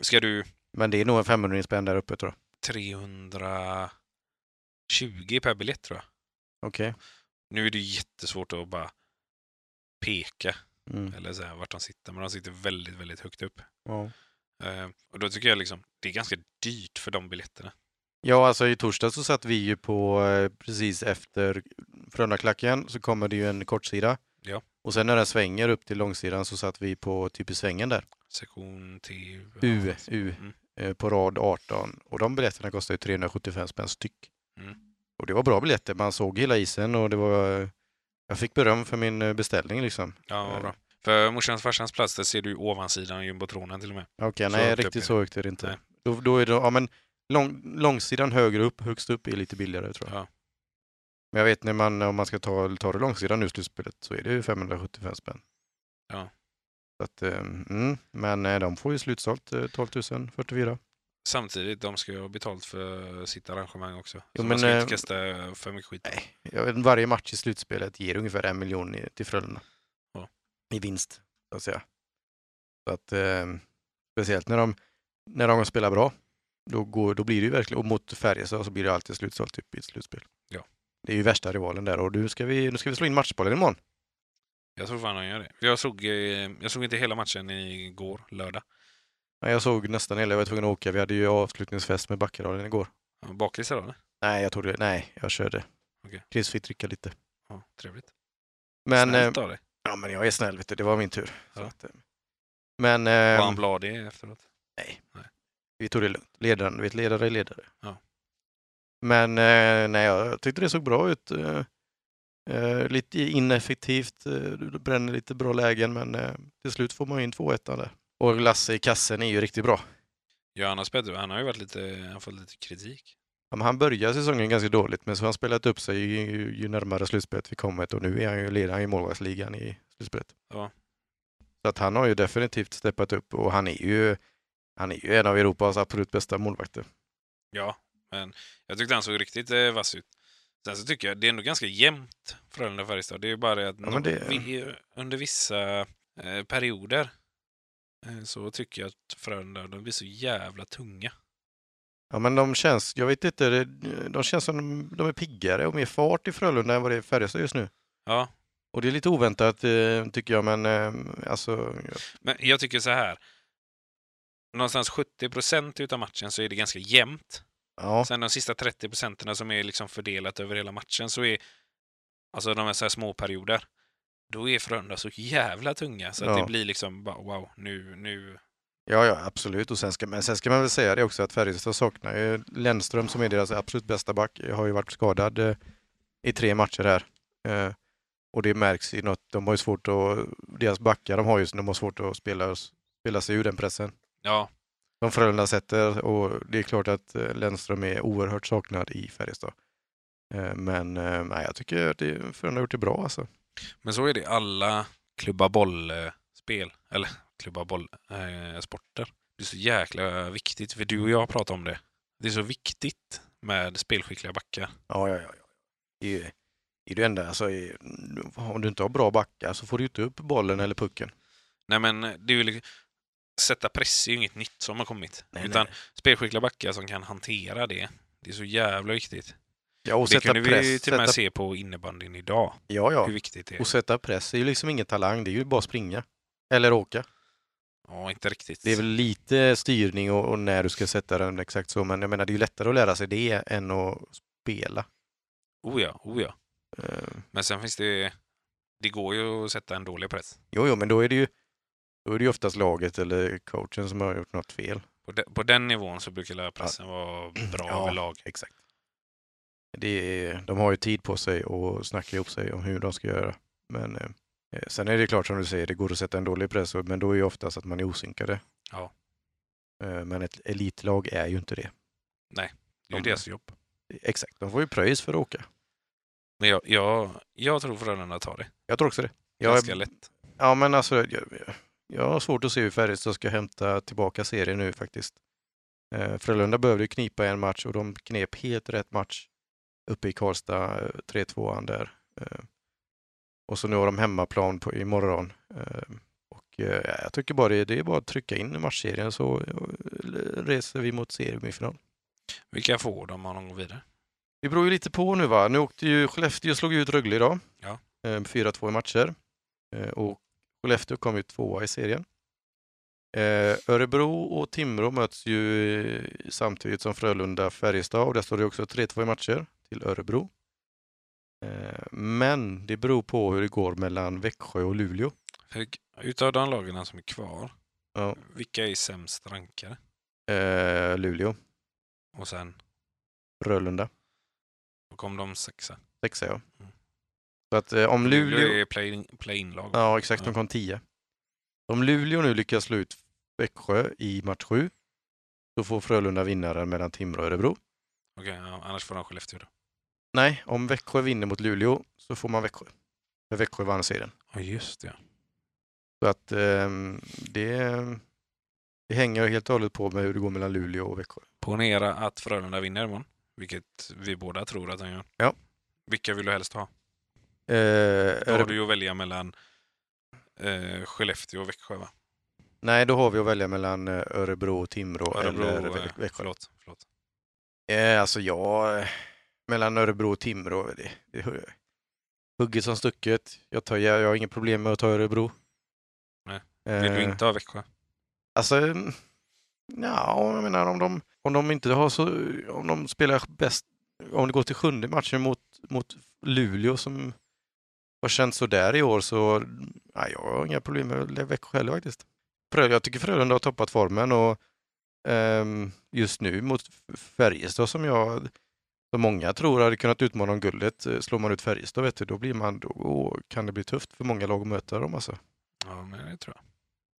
Speaker 2: ska du
Speaker 1: Men det är nog en 500 spänn där uppe tror
Speaker 2: 320 per biljett tror jag.
Speaker 1: jag. Okej.
Speaker 2: Nu är det ju jättesvårt att bara peka
Speaker 1: Mm.
Speaker 2: eller så här, vart de sitter, men de sitter väldigt, väldigt högt upp.
Speaker 1: Ja.
Speaker 2: Eh, och då tycker jag liksom, det är ganska dyrt för de biljetterna.
Speaker 1: ja, alltså i torsdag så satt vi ju på eh, precis efter Frölundaklacken så kommer det ju en kortsida.
Speaker 2: Ja.
Speaker 1: Och sen när den svänger upp till långsidan så satt vi på typ i svängen där.
Speaker 2: Sektion T...
Speaker 1: U, U
Speaker 2: Mm.
Speaker 1: eh, på rad 18 och de biljetterna kostar ju 375 spänn styck.
Speaker 2: Mm.
Speaker 1: Och det var bra biljetter, man såg hela isen och det var... eh, Jag fick beröm för min eh, beställning liksom.
Speaker 2: Ja, vad
Speaker 1: Eh.
Speaker 2: bra. För morsans och farsans plats, där ser du ju ovansidan av jumbotronen till och med.
Speaker 1: Okej,
Speaker 2: Så
Speaker 1: nej
Speaker 2: högt upp är
Speaker 1: riktigt
Speaker 2: det.
Speaker 1: så högt är det
Speaker 2: Nej.
Speaker 1: inte. Då, då är det, ja, men lång, långsidan högre upp, högst upp är lite billigare tror jag.
Speaker 2: Ja.
Speaker 1: Men jag vet när man, om man ska ta, ta det långsidan nu slutspelet så är det ju 575 spänn.
Speaker 2: Ja.
Speaker 1: Så att, eh, mm, men eh, de får ju slutsålt eh, 12 044.
Speaker 2: Samtidigt, de ska ju ha betalt för sitt arrangemang också.
Speaker 1: Jo,
Speaker 2: så
Speaker 1: men,
Speaker 2: man ska ju
Speaker 1: eh,
Speaker 2: inte kasta för mycket skit.
Speaker 1: Nej, jag vet, varje match i slutspelet ger ungefär en miljon i, till Frölunda.
Speaker 2: Ja.
Speaker 1: I vinst, så att säga. Så att, eh, speciellt när de, när de spelar bra, då, går, då blir det ju verkligen, och mot Färjestad så blir det alltid slutsålt typ, i ett slutspel.
Speaker 2: Ja.
Speaker 1: Det är ju värsta rivalen där och nu ska vi, nu ska vi slå in matchbollen imorgon.
Speaker 2: Jag tror fan de gör det. Jag såg, eh, jag såg inte hela matchen igår, lördag.
Speaker 1: Nej, Jag såg nästan hela, jag var tvungen att åka, vi hade ju avslutningsfest med Backadalen igår.
Speaker 2: Baklisa då, eller?
Speaker 1: Nej, jag trodde, nej, jag körde.
Speaker 2: Okej.
Speaker 1: Chris fick dricka lite.
Speaker 2: Ja, trevligt.
Speaker 1: Men, eh,
Speaker 2: Snällt av dig.
Speaker 1: ja, men jag är snäll, vet du, det var min tur. Så
Speaker 2: Ja.
Speaker 1: att, eh, men...
Speaker 2: Var
Speaker 1: ehm,
Speaker 2: han bladig efteråt?
Speaker 1: Vi tog det lugnt. Ledaren, vet, ledare är ledare.
Speaker 2: Ja.
Speaker 1: Men eh, nej, jag tyckte det såg bra ut. Eh, eh, lite ineffektivt, eh, du bränner lite bra lägen, men eh, till slut får man ju in 2-1 där. Och Lasse i kassen är ju riktigt bra.
Speaker 2: Ja, annars Pedro, han har ju varit lite, han har fått lite kritik.
Speaker 1: Ja, men han började säsongen ganska dåligt, men så har han spelat upp sig ju, ju, ju närmare slutspelet vi kommit och nu är han ju ledaren i målvaktsligan i slutspelet.
Speaker 2: Ja.
Speaker 1: Så att han har ju definitivt steppat upp och han är ju, han är ju en av Europas absolut bästa målvakter.
Speaker 2: Ja, men jag tyckte han såg riktigt eh, vass ut. Sen så tycker jag det är ändå ganska jämnt Frölunda-Färjestad. Det är ju bara det att
Speaker 1: men det-
Speaker 2: no- vi, under vissa eh, perioder eh, så tycker jag att Frölunda, de blir så jävla tunga.
Speaker 1: Ja, men de känns, jag vet inte, det- de känns som de, de är piggare och mer fart i Frölunda än vad det är i Färjestad just nu.
Speaker 2: Ja,
Speaker 1: Och det är lite oväntat eh, tycker jag, men eh, alltså,
Speaker 2: men jag tycker så här. Någonstans 70 procent utav matchen så är det ganska jämnt.
Speaker 1: ja,
Speaker 2: Sen de sista 30 procenten som är liksom fördelat över hela matchen så är alltså de här, så här små perioder. Då är Frölunda så jävla tunga så att
Speaker 1: Ja.
Speaker 2: det blir liksom bara wow, nu, nu,
Speaker 1: ja, ja absolut. Och sen ska, men sen ska man väl säga det också att Färjestad saknar ju Lennström som är deras absolut bästa back, har ju varit skadad eh, i tre matcher här. Eh, Och det märks i något, de har ju svårt att, deras backar de har ju, de har svårt att spela, spela sig ur den pressen.
Speaker 2: Ja,
Speaker 1: Som Frölunda sätter och det är klart att eh, Lennström är oerhört saknad i Färjestad. Eh, Men eh, nej, jag tycker att det, Frölunda har gjort det bra alltså.
Speaker 2: men så är det i alla klubba boll-spel. Eller klubba boll-sporter. Det är så jäkla viktigt, för du och jag pratar om det. Det är så viktigt med spelskickliga backar.
Speaker 1: Ja, ja, ja. ja. Det är ju det, är det enda, alltså, i- om du inte har bra backar så får du ju inte upp bollen eller pucken.
Speaker 2: Nej, men det är ju liksom, sätta press är ju inget nytt som har kommit. Utan spelskickliga backar som kan hantera det. Det är så jävla viktigt.
Speaker 1: Ja, och
Speaker 2: Och det
Speaker 1: sätta
Speaker 2: kunde
Speaker 1: press.
Speaker 2: vi till och med
Speaker 1: sätta,
Speaker 2: se på innebandyn idag.
Speaker 1: ja, ja.
Speaker 2: Hur viktigt det är.
Speaker 1: Och sätta press är ju liksom ingen talang, det är ju bara springa. Eller åka.
Speaker 2: Ja, inte riktigt.
Speaker 1: Det är väl lite styrning och, och när du ska sätta den exakt så, men jag menar det är ju lättare att lära sig det än att spela.
Speaker 2: Oh ja, oh ja.
Speaker 1: Eh,
Speaker 2: Men sen finns det... Det går ju att sätta en dålig press.
Speaker 1: jo, jo, men då är det ju då är det ju oftast laget eller coachen som har gjort något fel.
Speaker 2: På, de, på den nivån så brukar pressen vara bra
Speaker 1: Ja.
Speaker 2: överlag.
Speaker 1: Exakt. Det är, de har ju tid på sig att snacka ihop sig om hur de ska göra. Men eh, sen är det klart som du säger, det går att sätta en dålig press, men då är ju oftast att man är osynkade.
Speaker 2: Ja.
Speaker 1: Eh, men ett elitlag är ju inte det.
Speaker 2: Det är ju
Speaker 1: De-
Speaker 2: deras jobb.
Speaker 1: Exakt, de får ju pröjs för att åka.
Speaker 2: Men jag, jag, jag tror Frölunda tar det.
Speaker 1: Jag tror också det. Jag,
Speaker 2: Ganska lätt.
Speaker 1: ja, men alltså, jag, jag har svårt att se hur Färjestad ska hämta tillbaka serien nu faktiskt. Eh, Frölunda behövde ju knipa en match och de knep helt rätt match uppe i Karlstad, eh, 3-2an där. Eh, och så nu har de hemmaplan på, imorgon. Eh, och eh, ja, jag tycker bara det, det är bara att trycka in matchserien så eh, reser vi mot semifinal.
Speaker 2: Vilka får de om de går vidare?
Speaker 1: Det beror ju lite på nu va. Nu åkte ju Skellefteå slog ut Rögle idag.
Speaker 2: Ja.
Speaker 1: Eh, 4-2 i matcher. Eh, Och Skellefteå kom ju tvåa i serien. Eh, Örebro och Timrå möts ju eh, samtidigt som Frölunda-Färjestad och där står det också 3-2 i matcher till Örebro. Eh, Men det beror på hur det går mellan Växjö och Luleå.
Speaker 2: För, utav de lagarna som är kvar,
Speaker 1: Ja.
Speaker 2: vilka är sämst rankade?
Speaker 1: Eh, Luleå,
Speaker 2: Och sen,
Speaker 1: Frölunda,
Speaker 2: då kom de sexa.
Speaker 1: sexa ja. Så att eh, om Luleå...
Speaker 2: Mm. är play- play-in-lag.
Speaker 1: Ja, exakt. De kom 10. Om Luleå nu lyckas slå ut Växjö i match 7 så får Frölunda vinnaren mellan Timrå och Örebro.
Speaker 2: Okej, ja, annars får de Skellefteå då.
Speaker 1: Nej, om Växjö vinner mot Luleå så får man Växjö. För Växjö vann serien.
Speaker 2: Ja, just det.
Speaker 1: Så att ehm, det, det hänger ju helt och hållet på med hur det går mellan Luleå och Växjö.
Speaker 2: Ponera att Frölunda vinner imorgon, vilket vi båda tror att de gör.
Speaker 1: Ja.
Speaker 2: Vilka vill du helst ha?
Speaker 1: Eh,
Speaker 2: Då har
Speaker 1: Örebro,
Speaker 2: du ju att välja mellan eh, Skellefteå och Växjö, va?
Speaker 1: nej, då har vi att välja mellan eh, Örebro och Timrå
Speaker 2: Örebro,
Speaker 1: eller
Speaker 2: eh,
Speaker 1: Vä- Växjö.
Speaker 2: Förlåt, förlåt.
Speaker 1: Eh, alltså jag, eh, mellan Örebro och Timrå, det, det hör jag. Hugget som stucket. Jag, tar, jag, jag har inget problem med att ta Örebro.
Speaker 2: Nej. Vill du
Speaker 1: Eh,
Speaker 2: inte ha Växjö?
Speaker 1: Alltså, mm, nja, jag menar om de, om de inte har så, om de spelar bäst, om det går till sjunde matchen mot, mot Luleå som har känts sådär i år så, nej, jag har inga problem med Växjö heller faktiskt. Frö- Jag tycker Frölunda har toppat formen och ehm, just nu mot F- Färjestad som jag, som många tror hade kunnat utmana om guldet, eh, slår man ut Färjestad vet du, då blir man, då kan det bli tufft för många lag att möta dem alltså.
Speaker 2: Ja, men det tror jag.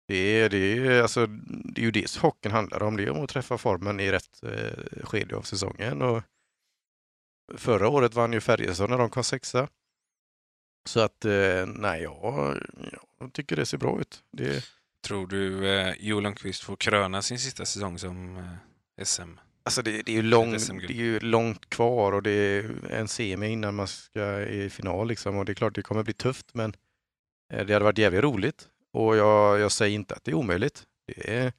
Speaker 1: Det är, det, är, alltså, det är ju det hockeyn handlar om, det är om att träffa formen i rätt eh, skede av säsongen. Och förra året vann ju Färjestad när de kom sexa. Så att, eh, nej, jag, jag tycker det ser bra ut. Det,
Speaker 2: Tror du eh, Joel Lundqvist får kröna sin sista säsong som eh, SM?
Speaker 1: alltså det, det, är ju lång,
Speaker 2: SM-guld.
Speaker 1: det är ju långt kvar och det är en semi innan man ska i final. Liksom. Och det är klart det kommer bli tufft, men eh, det hade varit jävligt roligt. Och jag, jag säger inte att det är omöjligt. Det är,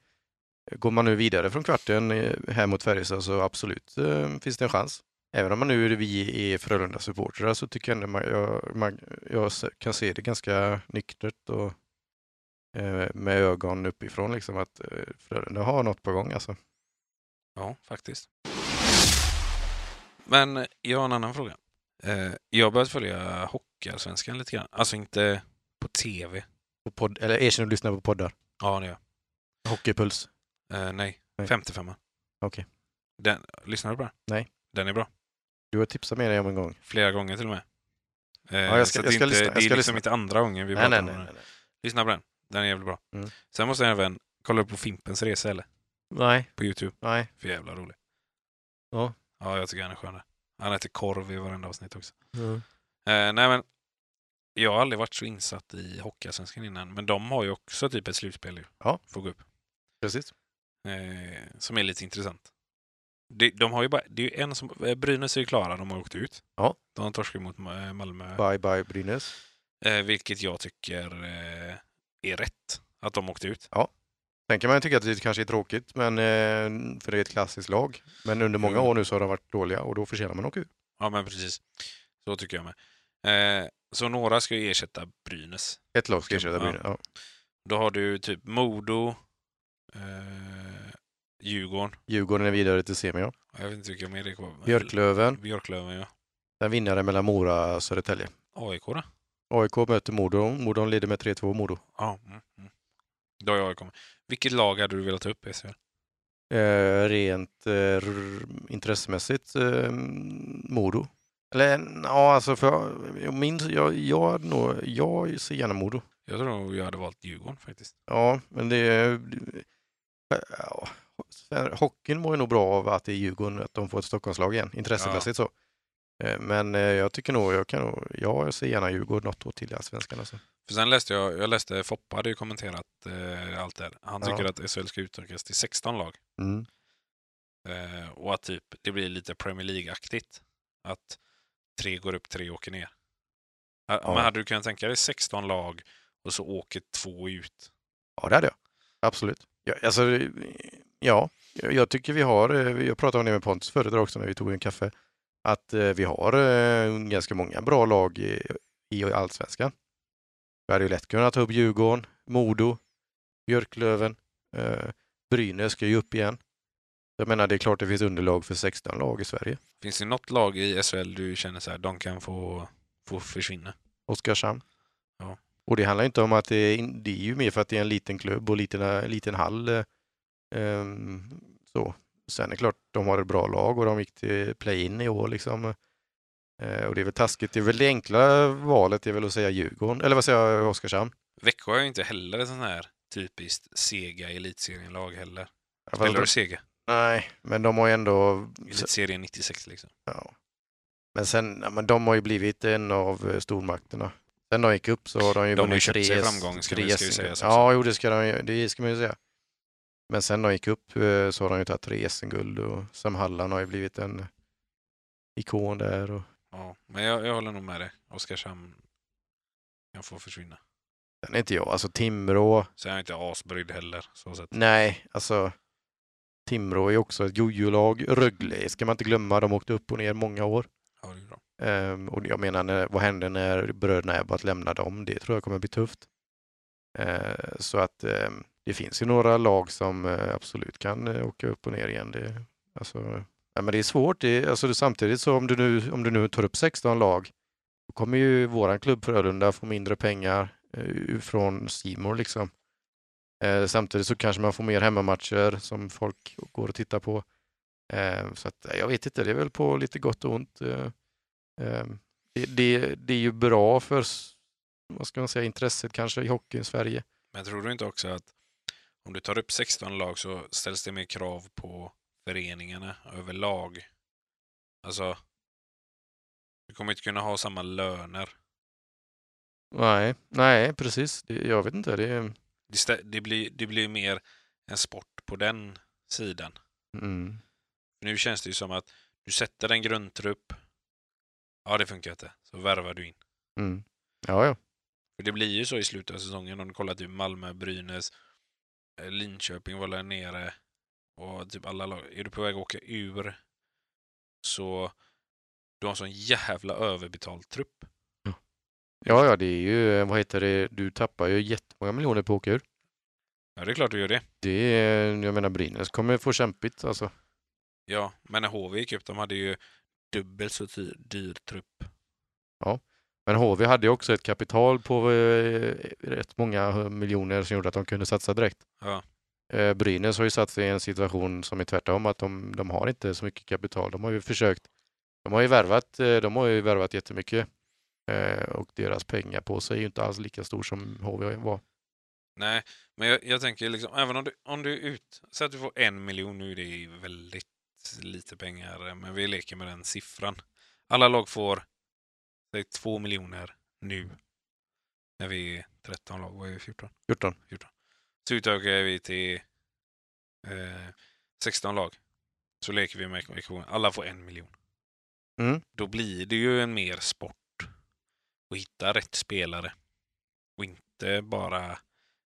Speaker 1: Går man nu vidare från kvarten eh, här mot Färjestad så absolut eh, finns det en chans. Även om man nu är vi är Frölunda-supportrar så tycker jag ändå man, jag, man, jag s- kan se det ganska nyktert och eh, med ögon uppifrån liksom att eh, Frölunda har något på gång alltså.
Speaker 2: Ja, faktiskt. Men jag har en annan fråga. Eh, jag har börjat följa Hockeyallsvenskan lite grann. Alltså inte på tv.
Speaker 1: På podd, eller erkänn att du lyssnar på poddar.
Speaker 2: Ja, det gör
Speaker 1: Hockeypuls.
Speaker 2: jag. Eh, nej,
Speaker 1: Nej.
Speaker 2: 55.
Speaker 1: Okej.
Speaker 2: Den, lyssnar du på den?
Speaker 1: Nej.
Speaker 2: Den är bra.
Speaker 1: Du har tipsat med dig om en gång.
Speaker 2: Flera gånger till och med. Eh,
Speaker 1: Ja, jag ska-
Speaker 2: så
Speaker 1: jag
Speaker 2: att
Speaker 1: ska
Speaker 2: det, inte,
Speaker 1: lyssna. Jag
Speaker 2: det
Speaker 1: ska
Speaker 2: är liksom
Speaker 1: lyssna.
Speaker 2: inte andra gången vi
Speaker 1: Nej,
Speaker 2: pratar
Speaker 1: nej,
Speaker 2: om
Speaker 1: nej.
Speaker 2: den.
Speaker 1: nej.
Speaker 2: Lyssna på den. Den är jävligt bra.
Speaker 1: Mm.
Speaker 2: Sen måste jag även kolla upp på Fimpens Resa eller?
Speaker 1: Nej,
Speaker 2: På Youtube.
Speaker 1: nej.
Speaker 2: För jävla rolig.
Speaker 1: Ja.
Speaker 2: Ja, jag tycker han är skön. där. Han äter korv i varenda avsnitt också. Eh, nej men, jag har aldrig varit så insatt i Hockeyallsvenskan innan. Men de har ju också typ ett slutspel ju.
Speaker 1: Ja.
Speaker 2: Får gå upp.
Speaker 1: Precis.
Speaker 2: Eh, som är lite intressant. De, de har ju bara, det är ju en som, eh, Brynäs är ju klara, de har åkt ut.
Speaker 1: Ja.
Speaker 2: De torskar ju mot Ma- Malmö.
Speaker 1: Bye bye Brynäs.
Speaker 2: Eh, vilket jag tycker eh, är rätt. Att de åkte ut.
Speaker 1: Sen kan man ju tycka att det kanske är tråkigt, men, eh, för det är ett klassiskt lag. Men under många
Speaker 2: Mm.
Speaker 1: år nu så har de varit dåliga och då förtjänar man att åka ur.
Speaker 2: Ja men precis. Så tycker jag med. Eh, så några ska ju ersätta Brynäs.
Speaker 1: Ett lag ska ersätta
Speaker 2: Ja.
Speaker 1: Brynäs. Ja.
Speaker 2: Då har du typ Modo, eh, Djurgården.
Speaker 1: Djurgården är vidare till semi. Ja.
Speaker 2: Jag vet inte vilka mer det kommer.
Speaker 1: Björklöven,
Speaker 2: Björklöven ja.
Speaker 1: den vinnare mellan Mora och Södertälje.
Speaker 2: AIK då?
Speaker 1: AIK möter Modo. Modo leder med 3-2 Modo.
Speaker 2: Ja. Mm, mm. Då har jag AIK med. Vilket lag hade du velat ta upp i SHL?
Speaker 1: Eh, rent eh, r- intressemässigt eh, Modo. Eller ja, alltså för jag minns, jag, jag, hade nog, jag ser gärna Modo.
Speaker 2: Jag tror nog jag hade valt Djurgården faktiskt.
Speaker 1: Ja, men det är... Ja, Sven- hockeyn mår ju nog bra av att det är Djurgården, att de får ett Stockholmslag igen, intressemässigt så. Eh, Men eh, jag tycker nog, jag kan nog, jag ser gärna Djurgården något år till i Allsvenskan alltså.
Speaker 2: För sen läste jag, jag läste Foppa hade ju kommenterat eh, allt det här. Han
Speaker 1: Ja.
Speaker 2: tycker att SHL ska utökas till 16 lag.
Speaker 1: Mm.
Speaker 2: Eh, och att typ, det blir lite Premier League-aktigt. Att tre går upp, tre åker ner. Ja.
Speaker 1: Ja.
Speaker 2: Men hade du kunnat tänka dig 16 lag och så åker två ut?
Speaker 1: Ja, det hade jag. Absolut. Ja, alltså, ja, jag tycker vi har, eh, jag pratade om det med Pontus förut också när vi tog en kaffe, att eh, vi har eh, ganska många bra lag i, i allsvenskan. Vi hade ju lätt kunnat ta upp Djurgården, Modo, Björklöven, eh, Brynäs ska ju upp igen. Jag menar, det är klart det finns underlag för 16 lag i Sverige.
Speaker 2: Finns det något lag i SHL du känner så här, de kan få, få försvinna?
Speaker 1: Oskarshamn.
Speaker 2: Ja.
Speaker 1: Och det handlar inte om att det är, in- det är ju mer för att det är en liten klubb och liten, eh, liten hall. eh, ehm, så. Sen är det klart, de har ett bra lag och de gick till play-in i år liksom. Eh, och det är väl taskigt. Det är väl det enkla valet är väl att säga Djurgården, eller vad säger jag, Oskarshamn?
Speaker 2: Växjö är ju inte heller ett sån här typiskt sega elitserielag heller.
Speaker 1: Ja, fast
Speaker 2: Spelar
Speaker 1: de-
Speaker 2: du sega?
Speaker 1: Nej, men de har ju ändå...
Speaker 2: Elitserien 96 liksom.
Speaker 1: Ja. Men sen, ja, men de har ju blivit en av eh, stormakterna. Sen de gick upp så har de ju
Speaker 2: De har
Speaker 1: vunnit
Speaker 2: ju köpt
Speaker 1: tre
Speaker 2: sig
Speaker 1: S-
Speaker 2: framgång, ska
Speaker 1: tre
Speaker 2: vi- ska vi
Speaker 1: S-
Speaker 2: säga som
Speaker 1: Ja, jo, det ska, de, ju- det ska man ju säga. Men sen de gick upp eh, så har de ju tagit tre SM-guld och Sam Hallan har ju blivit en ikon där. Och...
Speaker 2: Ja, men jag, jag håller nog med dig. Oskarshamn kan få försvinna.
Speaker 1: Sen är inte jag, alltså Timrå,
Speaker 2: Sen är jag inte asbrydd heller. Så sett.
Speaker 1: nej, alltså Timrå är ju också ett jojo-lag. Rögle ska man inte glömma, de åkte upp och ner många år.
Speaker 2: Ja, det är bra.
Speaker 1: Ehm, och jag menar, när, vad hände när bröderna Ebbot lämnade dem? Det tror jag kommer bli tufft. Eh, så att ehm, det finns ju några lag som eh, absolut kan eh, åka upp och ner igen. Det, alltså, ja, men det är svårt. Det, alltså, det, samtidigt så om du, nu, om du nu tar upp 16 lag, då kommer ju våran klubb Frölunda få mindre pengar eh, från Simor liksom. Eh, samtidigt så kanske man får mer hemmamatcher som folk går och tittar på. Eh, så att, eh, jag vet inte, det är väl på lite gott och ont. Eh, Ehm, Det, det, det är ju bra för s- vad ska man säga, intresset kanske i hockey i Sverige.
Speaker 2: Men tror du inte också att om du tar upp 16 lag så ställs det mer krav på föreningarna överlag? Alltså, du kommer inte kunna ha samma löner.
Speaker 1: Nej, nej precis. Det, jag vet inte. Det, är-
Speaker 2: Det, stä- det, blir, det blir mer en sport på den sidan.
Speaker 1: mm,
Speaker 2: Nu känns det ju som att du sätter en grundtrupp. Ja, det funkar inte. Så värvar du in.
Speaker 1: mm. Ja, ja.
Speaker 2: För det blir ju så i slutet av säsongen om du kollar typ Malmö, Brynäs, eh, Linköping var där nere och typ alla lag. Är du på väg att åka ur så du har en sån jävla överbetald trupp.
Speaker 1: Ja, ja, det är ju, eh, vad heter det, du tappar ju jättemånga miljoner på att åka ur.
Speaker 2: Ja, det är klart du gör det.
Speaker 1: Det är, jag menar Brynäs kommer få kämpigt alltså.
Speaker 2: Ja, men när HV gick upp, de hade ju dubbelt så dyr, dyr trupp.
Speaker 1: Men HV hade ju också ett kapital på eh, rätt många eh, miljoner som gjorde att de kunde satsa direkt.
Speaker 2: Ja.
Speaker 1: Eh, Brynäs har ju satt sig i en situation som är tvärtom, att de, de har inte så mycket kapital. De har ju försökt, de har ju värvat, eh, de har ju värvat jättemycket. Eh, och deras pengapåse är ju inte alls lika stor som HV var.
Speaker 2: Nej, men jag, jag tänker liksom, även om du, om du är ut, så att du får en miljon nu, det är väldigt lite pengar, eh, men vi leker med den siffran. Alla lag får, säg två miljoner nu. När vi är 13 lag, vad är vi, 14?
Speaker 1: 14.
Speaker 2: Så utökar vi till eh, 16 lag. Så leker vi med ekvationen. Alla får en miljon.
Speaker 1: Mm.
Speaker 2: Då blir det ju en mer sport att hitta rätt spelare. Och inte bara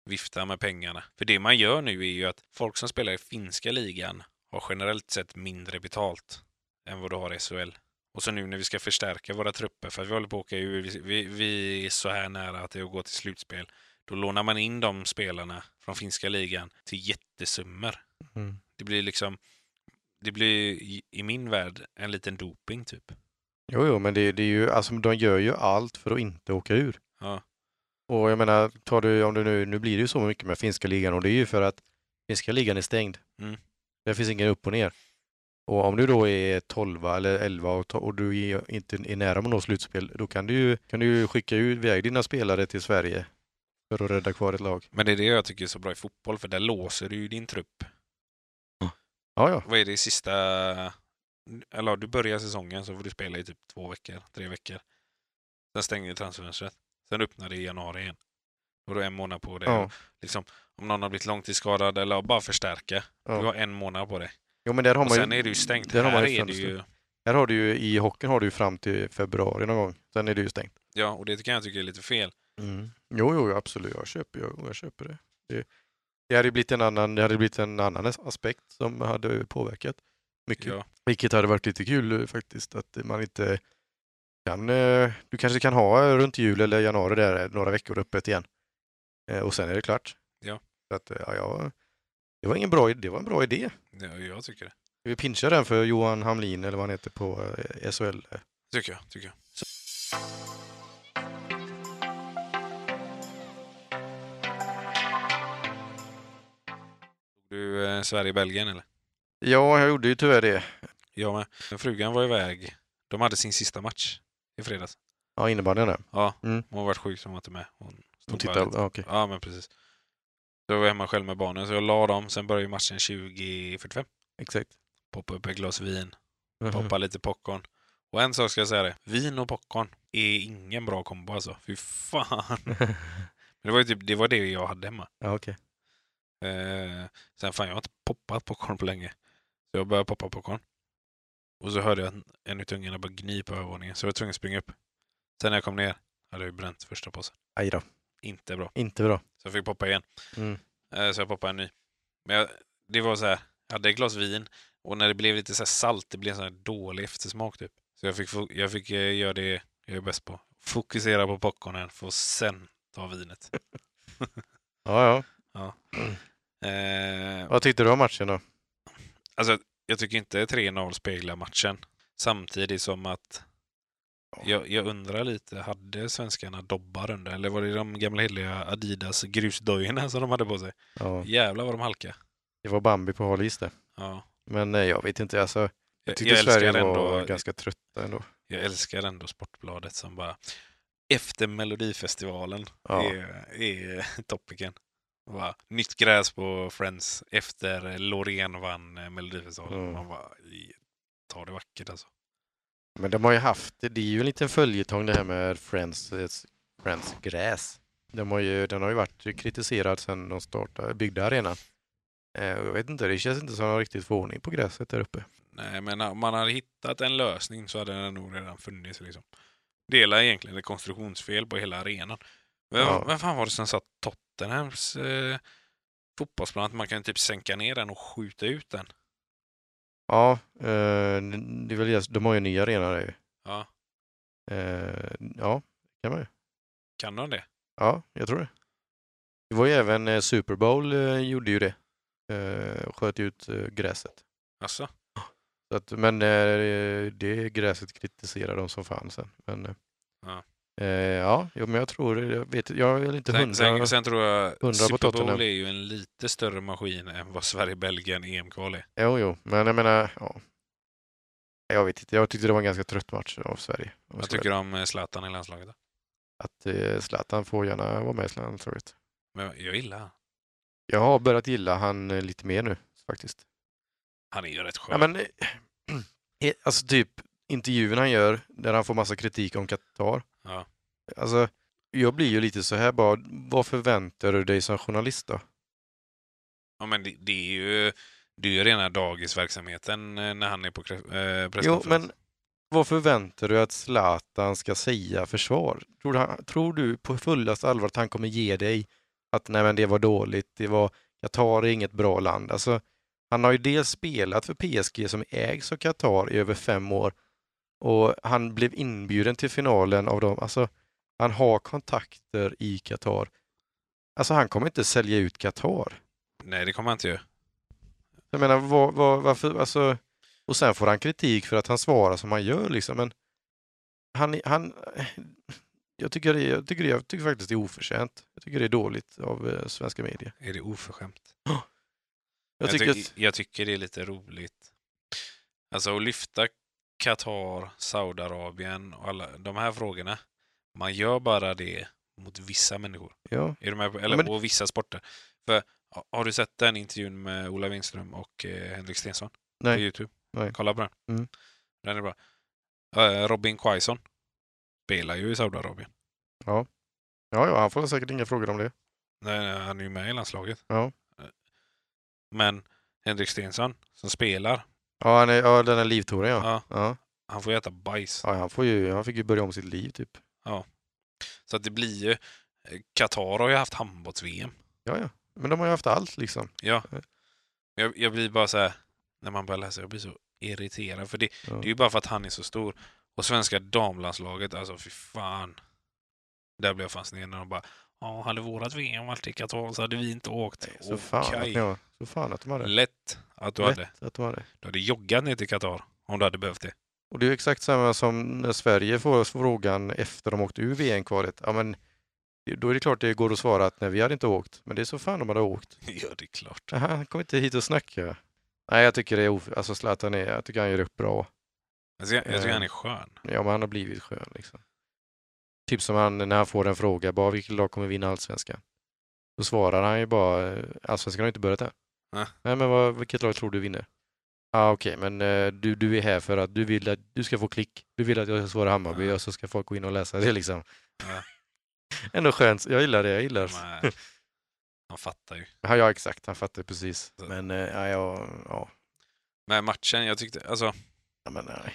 Speaker 2: vifta med pengarna. För det man gör nu är ju att folk som spelar i finska ligan har generellt sett mindre betalt än vad du har i SHL. Och så nu när vi ska förstärka våra trupper, för att vi håller på att åka ur, vi, vi, vi är så här nära att det går till slutspel. Då lånar man in de spelarna från finska ligan till jättesummor.
Speaker 1: Mm.
Speaker 2: Det blir liksom, det blir i- i min värld en liten doping typ.
Speaker 1: Jo, jo, men det, det är ju, alltså de gör ju allt för att inte åka ur.
Speaker 2: Ja.
Speaker 1: Och jag menar, tar du, om du nu, nu blir det ju så mycket med finska ligan och det är ju för att finska ligan är stängd.
Speaker 2: Mm.
Speaker 1: Det finns ingen upp och ner. Och om du då är 12 eller 11 och, ta- och du är inte är nära att nå slutspel, då kan du ju kan du ju skicka ut- iväg dina spelare till Sverige för att rädda kvar ett lag.
Speaker 2: Men det är det jag tycker är så bra i fotboll, för där låser du ju din trupp.
Speaker 1: Ja, ja.
Speaker 2: Vad är det i sista... Eller ja, du börjar säsongen så får du spela i typ två veckor, tre veckor. Sen stänger transferfönstret. Sen öppnar det i januari igen. Då har du en månad på dig.
Speaker 1: ja.
Speaker 2: Liksom, om någon har blivit långtidsskadad eller bara förstärka.
Speaker 1: Ja.
Speaker 2: Du har en månad på dig.
Speaker 1: Jo, men där har
Speaker 2: Och
Speaker 1: man
Speaker 2: sen
Speaker 1: ju,
Speaker 2: är det ju stängt.
Speaker 1: där har man
Speaker 2: Här
Speaker 1: ju
Speaker 2: är det
Speaker 1: fönster.
Speaker 2: ju...
Speaker 1: här har du ju, i hockeyn har du ju fram till februari någon gång. Sen är det ju stängt.
Speaker 2: Ja, och det kan jag tycka är lite fel.
Speaker 1: Mm. Jo, jo, absolut. Jag köper, jag, jag köper det. Det, det, hade blivit en annan, det hade blivit en annan aspekt som hade påverkat mycket.
Speaker 2: Ja.
Speaker 1: Vilket hade varit lite kul eh, faktiskt att man inte kan... eh, Du kanske kan ha eh, runt jul eller januari där eh, några veckor öppet igen. Eh, Och sen är det klart.
Speaker 2: Ja.
Speaker 1: Så att, eh, ja, ja, det var ingen bra, idé- det var en bra idé.
Speaker 2: Ja, jag tycker det.
Speaker 1: Vi pinchar den för Johan Hamlin eller vad han heter på eh, SHL.
Speaker 2: Tycker jag. Tycker jag. Du eh, Sverige-Belgien eller?
Speaker 1: Ja, jag gjorde ju tyvärr det.
Speaker 2: Jag med. Men Frugan var iväg. De hade sin sista match i fredags.
Speaker 1: Ja, innebandyn där.
Speaker 2: Ja,
Speaker 1: Mm.
Speaker 2: hon var sjuk så hon var inte med. Hon
Speaker 1: Och
Speaker 2: stod
Speaker 1: titta,
Speaker 2: bara lite.
Speaker 1: ja, okej.
Speaker 2: Ja, men precis. Så jag var hemma själv med barnen så jag la dem. Sen började ju matchen 20.45.
Speaker 1: Exakt.
Speaker 2: Poppa upp ett glas vin,
Speaker 1: Mhm.
Speaker 2: poppa lite popcorn. Och en sak ska jag säga det. Vin och popcorn är ingen bra kombo alltså. Fy fan. Men det var ju typ det, var det jag hade hemma.
Speaker 1: ja, okej.
Speaker 2: Eh, sen fan, jag har inte poppat popcorn på länge. Så jag började poppa popcorn. Och så hörde jag att en utav ungarna bara gny på övervåningen, så jag var tvungen att springa upp. Sen när jag kom ner hade jag ju bränt första påsen.
Speaker 1: Aj då,
Speaker 2: Inte bra.
Speaker 1: inte bra.
Speaker 2: Så jag fick poppa igen.
Speaker 1: Mm.
Speaker 2: Eh, så jag poppade en ny. Men jag, det var så här, jag hade ett glas vin och när det blev lite så här salt, det blev en sån här dålig eftersmak typ. Så jag fick, fo- jag fick eh, göra det jag är bäst på. Fokusera på popcornen, för att sen ta vinet.
Speaker 1: Ja, ja.
Speaker 2: Eh,
Speaker 1: Vad tyckte du om matchen då?
Speaker 2: Alltså, jag tycker inte 3-0 speglar matchen. Samtidigt som att jag, jag undrar lite, hade svenskarna dobbar under? Eller var det de gamla heliga Adidas grusdojorna som de hade på sig?
Speaker 1: Ja,
Speaker 2: Jävlar vad de halka.
Speaker 1: det var Bambi på hal is där.
Speaker 2: Ja.
Speaker 1: Men nej, jag vet inte. Alltså, jag
Speaker 2: Jag,
Speaker 1: tyckte
Speaker 2: jag,
Speaker 1: Sverige
Speaker 2: älskar
Speaker 1: var
Speaker 2: ändå,
Speaker 1: ganska trötta ändå.
Speaker 2: jag älskar ändå Sportbladet som bara efter Melodifestivalen
Speaker 1: Ja.
Speaker 2: är, är topicen. Och Bara, nytt gräs på Friends efter Loreen vann eh, Melodifestivalen.
Speaker 1: Mm.
Speaker 2: Man bara, i- ta det vackert alltså.
Speaker 1: Men de har ju haft, det är ju en liten följetong det här med Friends, eh, Friends gräs. De har ju, den har ju varit kritiserad sedan de startade, byggde arenan. Eh, och jag vet inte, det känns inte som att de riktigt får ordning på gräset där uppe.
Speaker 2: Nej, men om man hade hittat en lösning så hade den nog redan funnits. Liksom. Det hela är egentligen ett konstruktionsfel på hela arenan. Vem,
Speaker 1: Ja.
Speaker 2: vem fan var det som sa att Tottenhams eh, fotbollsplan att man kan typ sänka ner den och skjuta ut den?
Speaker 1: Ja, eh, det är väl, just- de har ju en ny arena där ju.
Speaker 2: Ja,
Speaker 1: Eh, ja, kan man ju.
Speaker 2: kan de det?
Speaker 1: Ja, jag tror det. Det var ju även eh, Super Bowl eh, gjorde ju det. Eh, sköt ut eh, gräset.
Speaker 2: Alltså,
Speaker 1: Så att, men eh, det gräset kritiserar de som fan sen. Men, eh,
Speaker 2: Ja.
Speaker 1: Eh, ja, jo, men jag tror, jag vet jag är inte
Speaker 2: sen,
Speaker 1: hundra.
Speaker 2: sen, sen tror jag
Speaker 1: hundra på
Speaker 2: Super Bowl
Speaker 1: Tottenham.
Speaker 2: är ju en lite större maskin än vad Sverige-Belgien EM-kval är.
Speaker 1: Jo, jo, men jag menar, ja. Jag vet inte, jag tyckte det var en ganska trött match av Sverige. Och
Speaker 2: Vad
Speaker 1: så är
Speaker 2: tycker du om eh, Zlatan i landslaget? då?
Speaker 1: Att eh, Zlatan får gärna vara med i landslaget.
Speaker 2: Men jag- jag gillar han.
Speaker 1: Jag har börjat gilla han eh, lite mer nu faktiskt.
Speaker 2: Han är ju rätt skön.
Speaker 1: Ja, men, eh, eh, alltså typ intervjuerna han gör där han får massa kritik om Qatar.
Speaker 2: Ja.
Speaker 1: Alltså, jag blir ju lite så här bara, vad förväntar du dig som journalist då?
Speaker 2: Ja, men det, det är ju det är ju rena dagisverksamheten eh, när han är på kre- eh,
Speaker 1: Jo,
Speaker 2: presskonferens.
Speaker 1: men vad förväntar du att Zlatan ska säga försvar? Tror du, han, tror du på fullast allvar att han kommer ge dig att nej men det var dåligt, det var Qatar är inget bra land. Alltså, han har ju dels spelat för PSG som ägs av Qatar i över fem år och han blev inbjuden till finalen av dem. Alltså, han har kontakter i Qatar. Alltså han kommer inte sälja ut Qatar.
Speaker 2: Nej, det kommer han inte göra.
Speaker 1: Jag menar, vad, vad, varför, alltså, och sen får han kritik för att han svarar som han gör liksom, men han, han, jag tycker, det, jag, tycker det, jag tycker faktiskt det är oförtjänt. Jag tycker det är dåligt av eh, svenska medier.
Speaker 2: Är det oförskämt?
Speaker 1: Jag tycker
Speaker 2: ty-
Speaker 1: att,
Speaker 2: jag tycker det är lite roligt. Alltså att lyfta Qatar, Saudiarabien och alla de här frågorna. Man gör bara det mot vissa människor.
Speaker 1: ja,
Speaker 2: Är du med på, eller
Speaker 1: men-
Speaker 2: på vissa sporter. För, ha- har du sett den intervjun med Ola Winström och eh, Henrik Stenson? På
Speaker 1: Nej.
Speaker 2: Youtube?
Speaker 1: Nej.
Speaker 2: Kolla på den.
Speaker 1: Mm.
Speaker 2: Den är bra. Eh, Robin Quaison spelar ju i Saudiarabien.
Speaker 1: ja, ja, han får säkert inga frågor om det.
Speaker 2: Nej, nej, Han är ju med i landslaget.
Speaker 1: Ja.
Speaker 2: Eh, Men Henrik Stensson som spelar,
Speaker 1: Ja, han är, ja den här livtouren ja.
Speaker 2: ja,
Speaker 1: Ja.
Speaker 2: han får ju äta bajs.
Speaker 1: ja, han, får ju, han fick ju börja om sitt liv typ.
Speaker 2: Så att det blir ju... eh, Qatar har ju haft handbolls-VM.
Speaker 1: Ja, ja, men de har ju haft allt liksom.
Speaker 2: Ja. Jag, jag blir bara så här, när man börjar läsa, jag blir så irriterad. För det,
Speaker 1: Ja.
Speaker 2: det är ju bara för att han är så stor. Och svenska damlandslaget, alltså fy fan. Där blev jag fascinerad när de bara, ja, hade vårat VM varit i Qatar så hade vi inte åkt.
Speaker 1: Så, fan att,
Speaker 2: Okej.
Speaker 1: ni har- så fan att de hade.
Speaker 2: Lätt att du hade.
Speaker 1: Lätt att de hade.
Speaker 2: Du hade joggat ner till Qatar om du hade behövt det.
Speaker 1: Och det är ju exakt samma som när Sverige får frågan efter de åkte ur VM-kvalet. Ja, men då är det klart det går att svara att nej, vi hade inte åkt. Men det är så fan de hade åkt.
Speaker 2: Ja, det är klart.
Speaker 1: Aha, Han kom inte hit och snacka. Nej, jag tycker det är of... Alltså Zlatan är... Jag tycker han gör upp bra.
Speaker 2: Alltså, jag, jag tycker
Speaker 1: Eh.
Speaker 2: han är skön.
Speaker 1: Ja, men han har blivit skön liksom. Typ som han när han får en fråga, bara vilket lag kommer vinna allsvenskan? Då svarar han ju bara, eh, allsvenskan har inte börjat än.
Speaker 2: Nej.
Speaker 1: Nej, men vad, vilket lag tror du vinner? Ja, ah, okej, men eh, du, du är här för att du vill att du ska få klick. Du vill att jag ska svara Hammarby
Speaker 2: Ja.
Speaker 1: och så ska folk gå in och läsa det liksom.
Speaker 2: Ja.
Speaker 1: Ändå skönt, jag gillar det, jag gillar det.
Speaker 2: Men, han fattar ju.
Speaker 1: Ja, ja, exakt, han fattar precis.
Speaker 2: Så.
Speaker 1: Men, eh, ja, jag, ja,
Speaker 2: Men matchen, jag tyckte, alltså
Speaker 1: ja, men nej.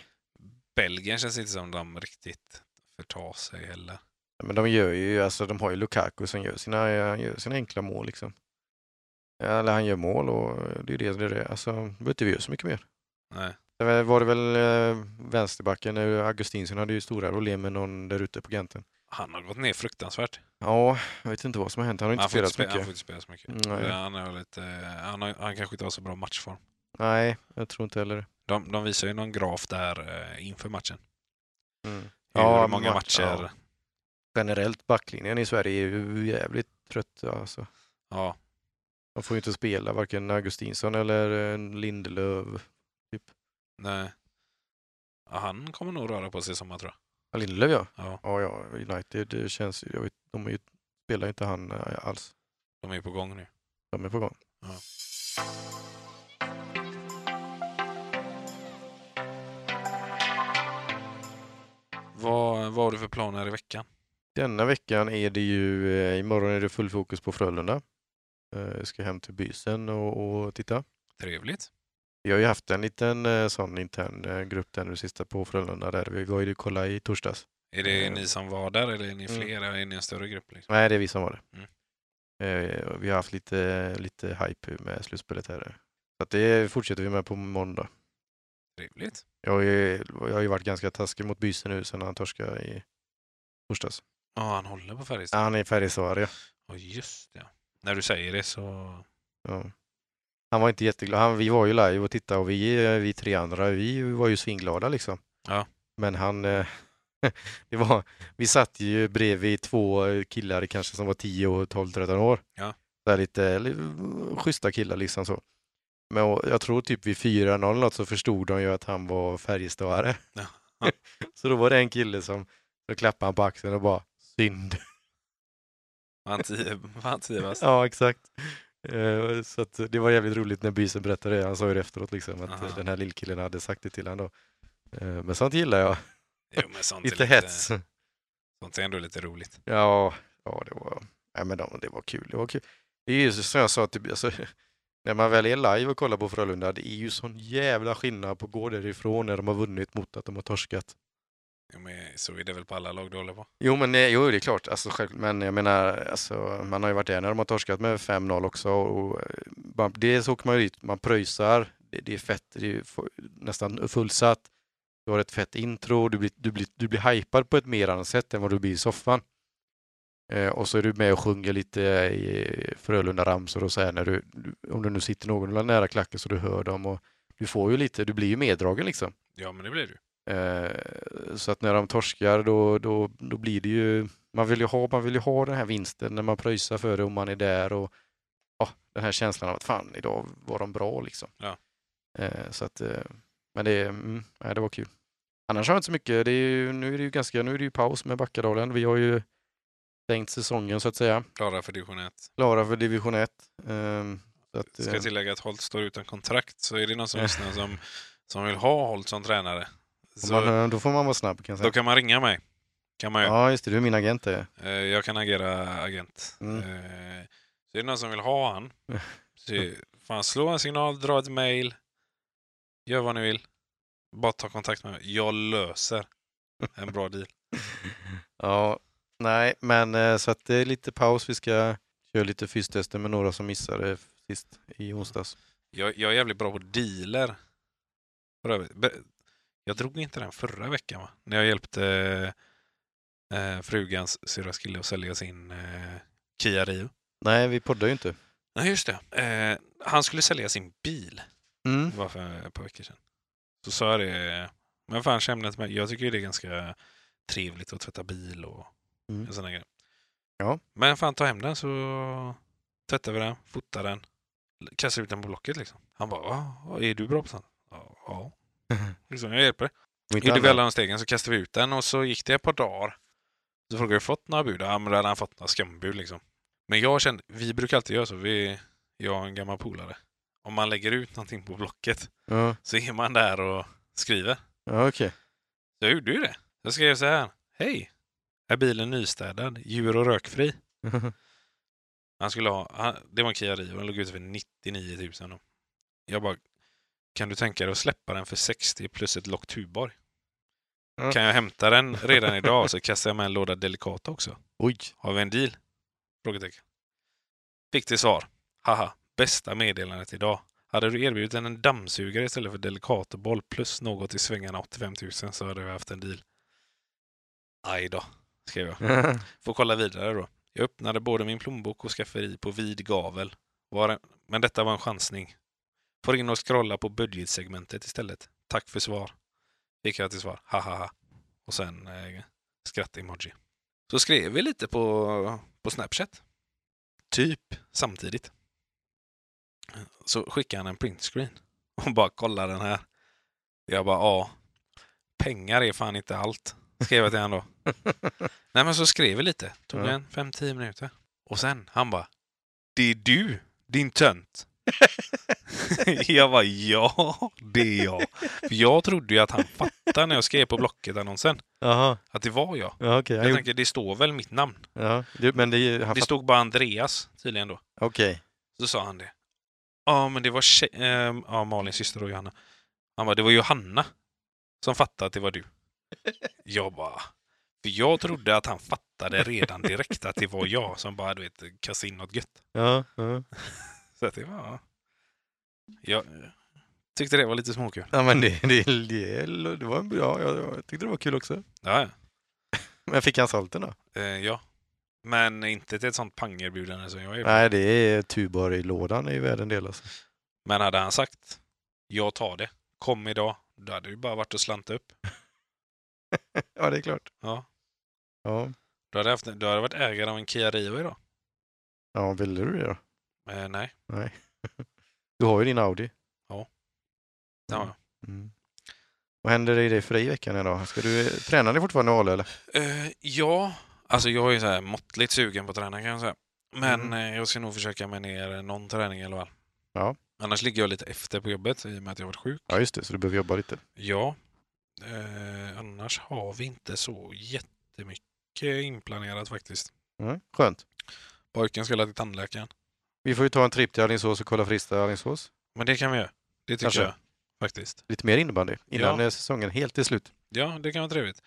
Speaker 2: Belgien känns inte som de riktigt förtar sig heller.
Speaker 1: Men de gör ju, alltså de har ju Lukaku som gör sina, han gör sina enkla mål liksom. Eller han gör mål och det är det det är. det. Alltså, behöver inte vi göra så mycket mer.
Speaker 2: Nej.
Speaker 1: Det var det väl eh, vänsterbacken, eh, Augustinsson hade ju stora problem med någon där ute på kanten.
Speaker 2: Han har gått ner fruktansvärt.
Speaker 1: Ja, jag vet inte vad som har hänt. Han har inte
Speaker 2: Han får inte,
Speaker 1: spelat så
Speaker 2: spela, han får
Speaker 1: mycket.
Speaker 2: inte spela så mycket.
Speaker 1: Nej.
Speaker 2: Han, har lite, eh, han, har, han kanske inte har så bra matchform.
Speaker 1: Nej, jag tror inte heller det.
Speaker 2: De, de visar ju någon graf där eh, inför matchen. Hur
Speaker 1: Ja,
Speaker 2: många
Speaker 1: match-
Speaker 2: matcher.
Speaker 1: ja.
Speaker 2: Mm. Ja.
Speaker 1: Generellt, backlinjen i Sverige är ju jävligt trött alltså. De får ju inte spela, varken Augustinsson eller eh, Lindelöf.
Speaker 2: nej. Ja, han kommer nog röra på sig i sommar tror jag.
Speaker 1: Ja, Lindelöf ja.
Speaker 2: Ja,
Speaker 1: Ja, ja, United det känns ju, jag vet, de är ju, spelar ju inte han eh, alls.
Speaker 2: de är ju på gång nu.
Speaker 1: De är på gång.
Speaker 2: Ja. Vad, vad har du för planer i veckan?
Speaker 1: Denna veckan är det ju, eh, imorgon är det full fokus på Frölunda. Eh, Jag ska hem till bysen och, och titta.
Speaker 2: Trevligt.
Speaker 1: Vi har ju haft en liten eh, sån intern eh, grupp där nu sista på Frölunda där vi var ju kolla i torsdags.
Speaker 2: Är det
Speaker 1: Eh.
Speaker 2: ni som var där eller är ni
Speaker 1: Mm.
Speaker 2: flera? Är ni en större grupp? Liksom?
Speaker 1: Nej, det är vi som var det. Eh, och Vi har haft lite, lite hype med slutspelet här. Så att det fortsätter vi med på måndag.
Speaker 2: Trevligt.
Speaker 1: Jag har ju, jag har ju varit ganska taskig mot bysen nu sedan han torskade i torsdags.
Speaker 2: Ja, han håller på
Speaker 1: Ja,
Speaker 2: Färjestad.
Speaker 1: han är Färjestad, ja.
Speaker 2: Ja, just det. När du säger det så...
Speaker 1: ja. Han var inte jätteglad. Han, vi var ju live och tittade och vi, eh, vi tre andra, vi var ju svinglada liksom.
Speaker 2: Ja.
Speaker 1: Men han, eh, det var, vi satt ju bredvid två killar kanske som var 10 och 12-13 år.
Speaker 2: Ja.
Speaker 1: eh, Så här lite, lite schyssta killar liksom så. Men och jag tror typ vid 4-0 något så förstod de ju att han var Färjestadare.
Speaker 2: Ja.
Speaker 1: så då var det en kille som så klappade han på axeln och bara synd.
Speaker 2: Han trivas.
Speaker 1: ja, exakt. Eh, Så att det var jävligt roligt när Bysen berättade det. Han sa ju det efteråt liksom att
Speaker 2: Aha.
Speaker 1: den här lillkillen hade sagt det till honom då. Eh, Men sånt gillar jag.
Speaker 2: Jo, men sånt är
Speaker 1: Lite hets.
Speaker 2: Sånt är ändå lite roligt.
Speaker 1: Ja, ja det var nej, men de, det var kul. Det var kul. Det är ju som jag sa, typ, alltså, när man väl är live och kollar på Frölunda, det är ju sån jävla skillnad på att gå därifrån när de har vunnit mot att de har torskat.
Speaker 2: Jo, men så är det väl på alla lag du håller på.
Speaker 1: Jo, men nej, jo, det är klart. Alltså, själv, men jag menar, alltså, man har ju varit där när de har torskat med 5-0 också. Och, eh, man, dels åker man ju dit, man pröjsar, det, det är fett, det är fu- nästan fullsatt. Du har ett fett intro, du blir, du blir, du blir hypad på ett mer annat sätt än vad du blir i soffan. Eh, och så är du med och sjunger lite i Frölunda-ramsor och så här när du, du, om du nu sitter någorlunda nära klacken så du hör dem och du får ju lite, du blir ju meddragen liksom.
Speaker 2: Ja, men det blir du.
Speaker 1: Eh, så att när de torskar då, då, då blir det ju, man vill ju, ha, man vill ju ha den här vinsten när man pröjsar för det och man är där och ja, den här känslan av att fan idag var de bra liksom.
Speaker 2: Ja.
Speaker 1: Eh, så att, eh, men det, mm, nej, det var kul. Annars har jag inte så mycket, det är ju, nu är det ju ganska, nu är det ju paus med Backadalen. Vi har ju stängt säsongen så att säga,
Speaker 2: Klara för division 1.
Speaker 1: klara för division 1. ehm, så att,
Speaker 2: Ska
Speaker 1: eh,
Speaker 2: jag tillägga att Holt står utan kontrakt, så är det någon som lyssnar som, som vill ha Holt som tränare, så
Speaker 1: man, då får man vara snabb kan jag
Speaker 2: då
Speaker 1: säga.
Speaker 2: kan man ringa mig. Kan man ju.
Speaker 1: Ja just det, du är min agent det.
Speaker 2: Eh, Jag kan agera agent.
Speaker 1: Mm.
Speaker 2: Eh, Så är det någon som vill ha han,
Speaker 1: Ja.
Speaker 2: så fan, slå en signal, dra ett mail, gör vad ni vill. Bara ta kontakt med mig. Jag löser en bra deal.
Speaker 1: Ja, nej, men eh, så att det är lite paus. Vi ska köra lite fystester med några som missade sist i onsdags.
Speaker 2: Jag, jag är jävligt bra på dealer. För övrigt. Be- Jag drog inte den förra veckan va? När jag hjälpte eh, frugans syrras kille att sälja sin eh, Kia Rio.
Speaker 1: Nej, vi poddar ju inte.
Speaker 2: Nej just det. Eh, han skulle sälja sin bil.
Speaker 1: Mm.
Speaker 2: Det var för ett par veckor sedan. Så sa jag det. Men fan ämnet med. Jag tycker ju det är ganska trevligt att tvätta bil och
Speaker 1: Mm.
Speaker 2: sådana grejer.
Speaker 1: Ja.
Speaker 2: Men fan ta hem den så tvättar vi den, fotar den, kastar ut den på Blocket liksom. Han bara, "Ah, är du bra på sånt? Ja. ja. Liksom, jag hjälper dig.
Speaker 1: Om inte
Speaker 2: Gjorde vi
Speaker 1: annat.
Speaker 2: alla de stegen så kastade vi ut den och så gick det ett par dagar. Så frågade jag, har du fått några bud? Ja, men då hade han fått några skambud liksom. Men jag kände, vi brukar alltid göra så, vi, jag och en gammal polare. Om man lägger ut någonting på Blocket
Speaker 1: Ja,
Speaker 2: så är man där och skriver.
Speaker 1: ja okej.
Speaker 2: Så jag gjorde ju det. Jag skrev så här. Hej! Är bilen nystädad? Djur och rökfri? Han skulle ha, han, det var en Kia Rio, den låg ute för 99 000. Då. Jag bara, kan du tänka dig att släppa den för 60 plus ett lock Tuborg?
Speaker 1: Ja.
Speaker 2: Kan jag hämta den redan idag så kastar jag med en låda Delicata också.
Speaker 1: Oj,
Speaker 2: Har vi en deal? Frågetecken. Fick till svar. Haha, bästa meddelandet idag. Hade du erbjudit en dammsugare istället för Delicatoboll plus något i svängarna 85 000 så hade vi haft en deal. Aj då, skrev jag. Får kolla vidare då. Jag öppnade både min plånbok och skafferi på vid gavel. Var en... Men detta var en chansning. Får in och scrolla på budgetsegmentet istället. Tack för svar. Fick jag till svar. Hahaha. Och sen eh, skratt-emoji. Så skrev vi lite på, på Snapchat. Typ samtidigt. Så skickade han en printscreen. Och bara kolla den här. Jag bara ja. Pengar är fan inte allt. Skrev jag till honom då. Nej men så skrev vi lite. Tog
Speaker 1: Ja.
Speaker 2: en 5-10 minuter. Och sen han bara. Det är du, din tönt. jag var ja, det är jag. För jag trodde ju att han fattade när jag skrev på Blocket-annonsen
Speaker 1: Jaha,
Speaker 2: att det var jag.
Speaker 1: ja, okej.
Speaker 2: Jag
Speaker 1: Han gjorde-
Speaker 2: tänker, det står väl mitt namn?
Speaker 1: Ja, du, men det, är ju- han
Speaker 2: Det
Speaker 1: fatt...
Speaker 2: stod bara Andreas tydligen då.
Speaker 1: Okej.
Speaker 2: Så sa han det. Ja, men det var tje- ehm, ja, Malins syster och Johanna. Han bara, det var Johanna som fattade att det var du. Jag bara, för jag trodde att han fattade redan direkt att det var jag som bara, du vet, kastade in något gött.
Speaker 1: Ja, ja.
Speaker 2: Så att det var... Jag tyckte det var lite småkul.
Speaker 1: ja, men det, det, det, det var en bra, jag, jag tyckte det var kul också.
Speaker 2: Ja, ja.
Speaker 1: Men fick han salten då?
Speaker 2: Eh, ja. Men inte till ett sånt pangerbjudande som jag är.
Speaker 1: Nej, det är Tuborg-lådan är ju värd en del alltså.
Speaker 2: Men hade han sagt jag tar det, kom idag, då hade det ju bara varit att slanta upp.
Speaker 1: Ja, det är klart.
Speaker 2: Ja.
Speaker 1: Ja,
Speaker 2: Då hade jag, haft, då hade jag varit ägare av en Kia Rio idag.
Speaker 1: ja ville du det då?
Speaker 2: Eh, nej,
Speaker 1: Du har ju din Audi.
Speaker 2: Ja, ja.
Speaker 1: Mm. Vad händer i dig för dig i veckan idag? Ska du träna dig fortfarande i Ale eller?
Speaker 2: Eh, ja, alltså jag är så här måttligt sugen på att träna kan jag säga. Men
Speaker 1: Mm.
Speaker 2: eh, jag ska nog försöka med ner någon träning i alla fall.
Speaker 1: Ja.
Speaker 2: Annars ligger jag lite efter på jobbet i och med att jag varit sjuk.
Speaker 1: Ja just det, så du behöver jobba lite.
Speaker 2: Ja. Eh, annars har vi inte så jättemycket inplanerat faktiskt.
Speaker 1: Mm. Skönt.
Speaker 2: Pojken ska till tandläkaren.
Speaker 1: Vi får ju ta en tripp till Alingsås och kolla Frista i Alingsås.
Speaker 2: Men det kan vi göra. Det tycker
Speaker 1: Kanske.
Speaker 2: jag faktiskt.
Speaker 1: Lite mer innebandy innan eh, säsongen helt är slut.
Speaker 2: Ja, det kan vara trevligt.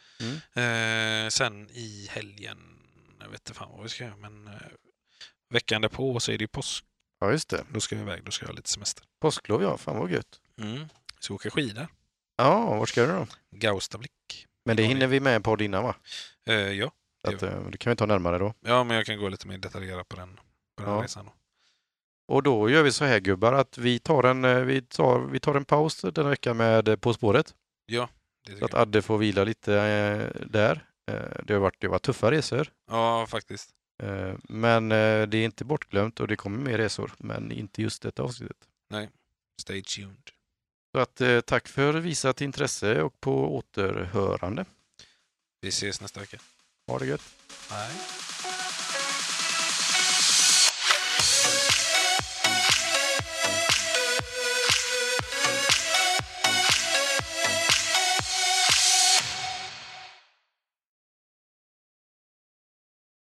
Speaker 2: Eh, sen i helgen, jag vet inte fan vad vi ska göra, men eh, veckan därpå så är det ju påsk.
Speaker 1: Ja just det.
Speaker 2: Då ska jag iväg, då ska jag ha lite semester.
Speaker 1: Påsklov ja, fan vad gött.
Speaker 2: Mm. Så åka skidor.
Speaker 1: Ja, vart ska du då?
Speaker 2: Gaustablick.
Speaker 1: Men det
Speaker 2: Ja,
Speaker 1: hinner vi med en podd innan va?
Speaker 2: Eh, ja.
Speaker 1: Så Att, eh, det kan vi ta närmare då.
Speaker 2: ja, men jag kan gå lite mer detaljerat på den, på den här
Speaker 1: Ja.
Speaker 2: resan. Då.
Speaker 1: Och då gör vi så här gubbar att vi tar en, eh, vi tar, vi tar en paus den här veckan med eh, På spåret.
Speaker 2: Det
Speaker 1: Så
Speaker 2: tycker
Speaker 1: att
Speaker 2: jag.
Speaker 1: Adde får vila lite eh, där. Eh, det, har varit, det har varit tuffa resor.
Speaker 2: Ja, faktiskt.
Speaker 1: Eh, men eh, det är inte bortglömt och det kommer mer resor. Men inte just detta avsnittet.
Speaker 2: Stay tuned.
Speaker 1: Så att eh, tack för visat intresse och på återhörande.
Speaker 2: Vi ses nästa vecka.
Speaker 1: Ha det gött.
Speaker 2: Bye.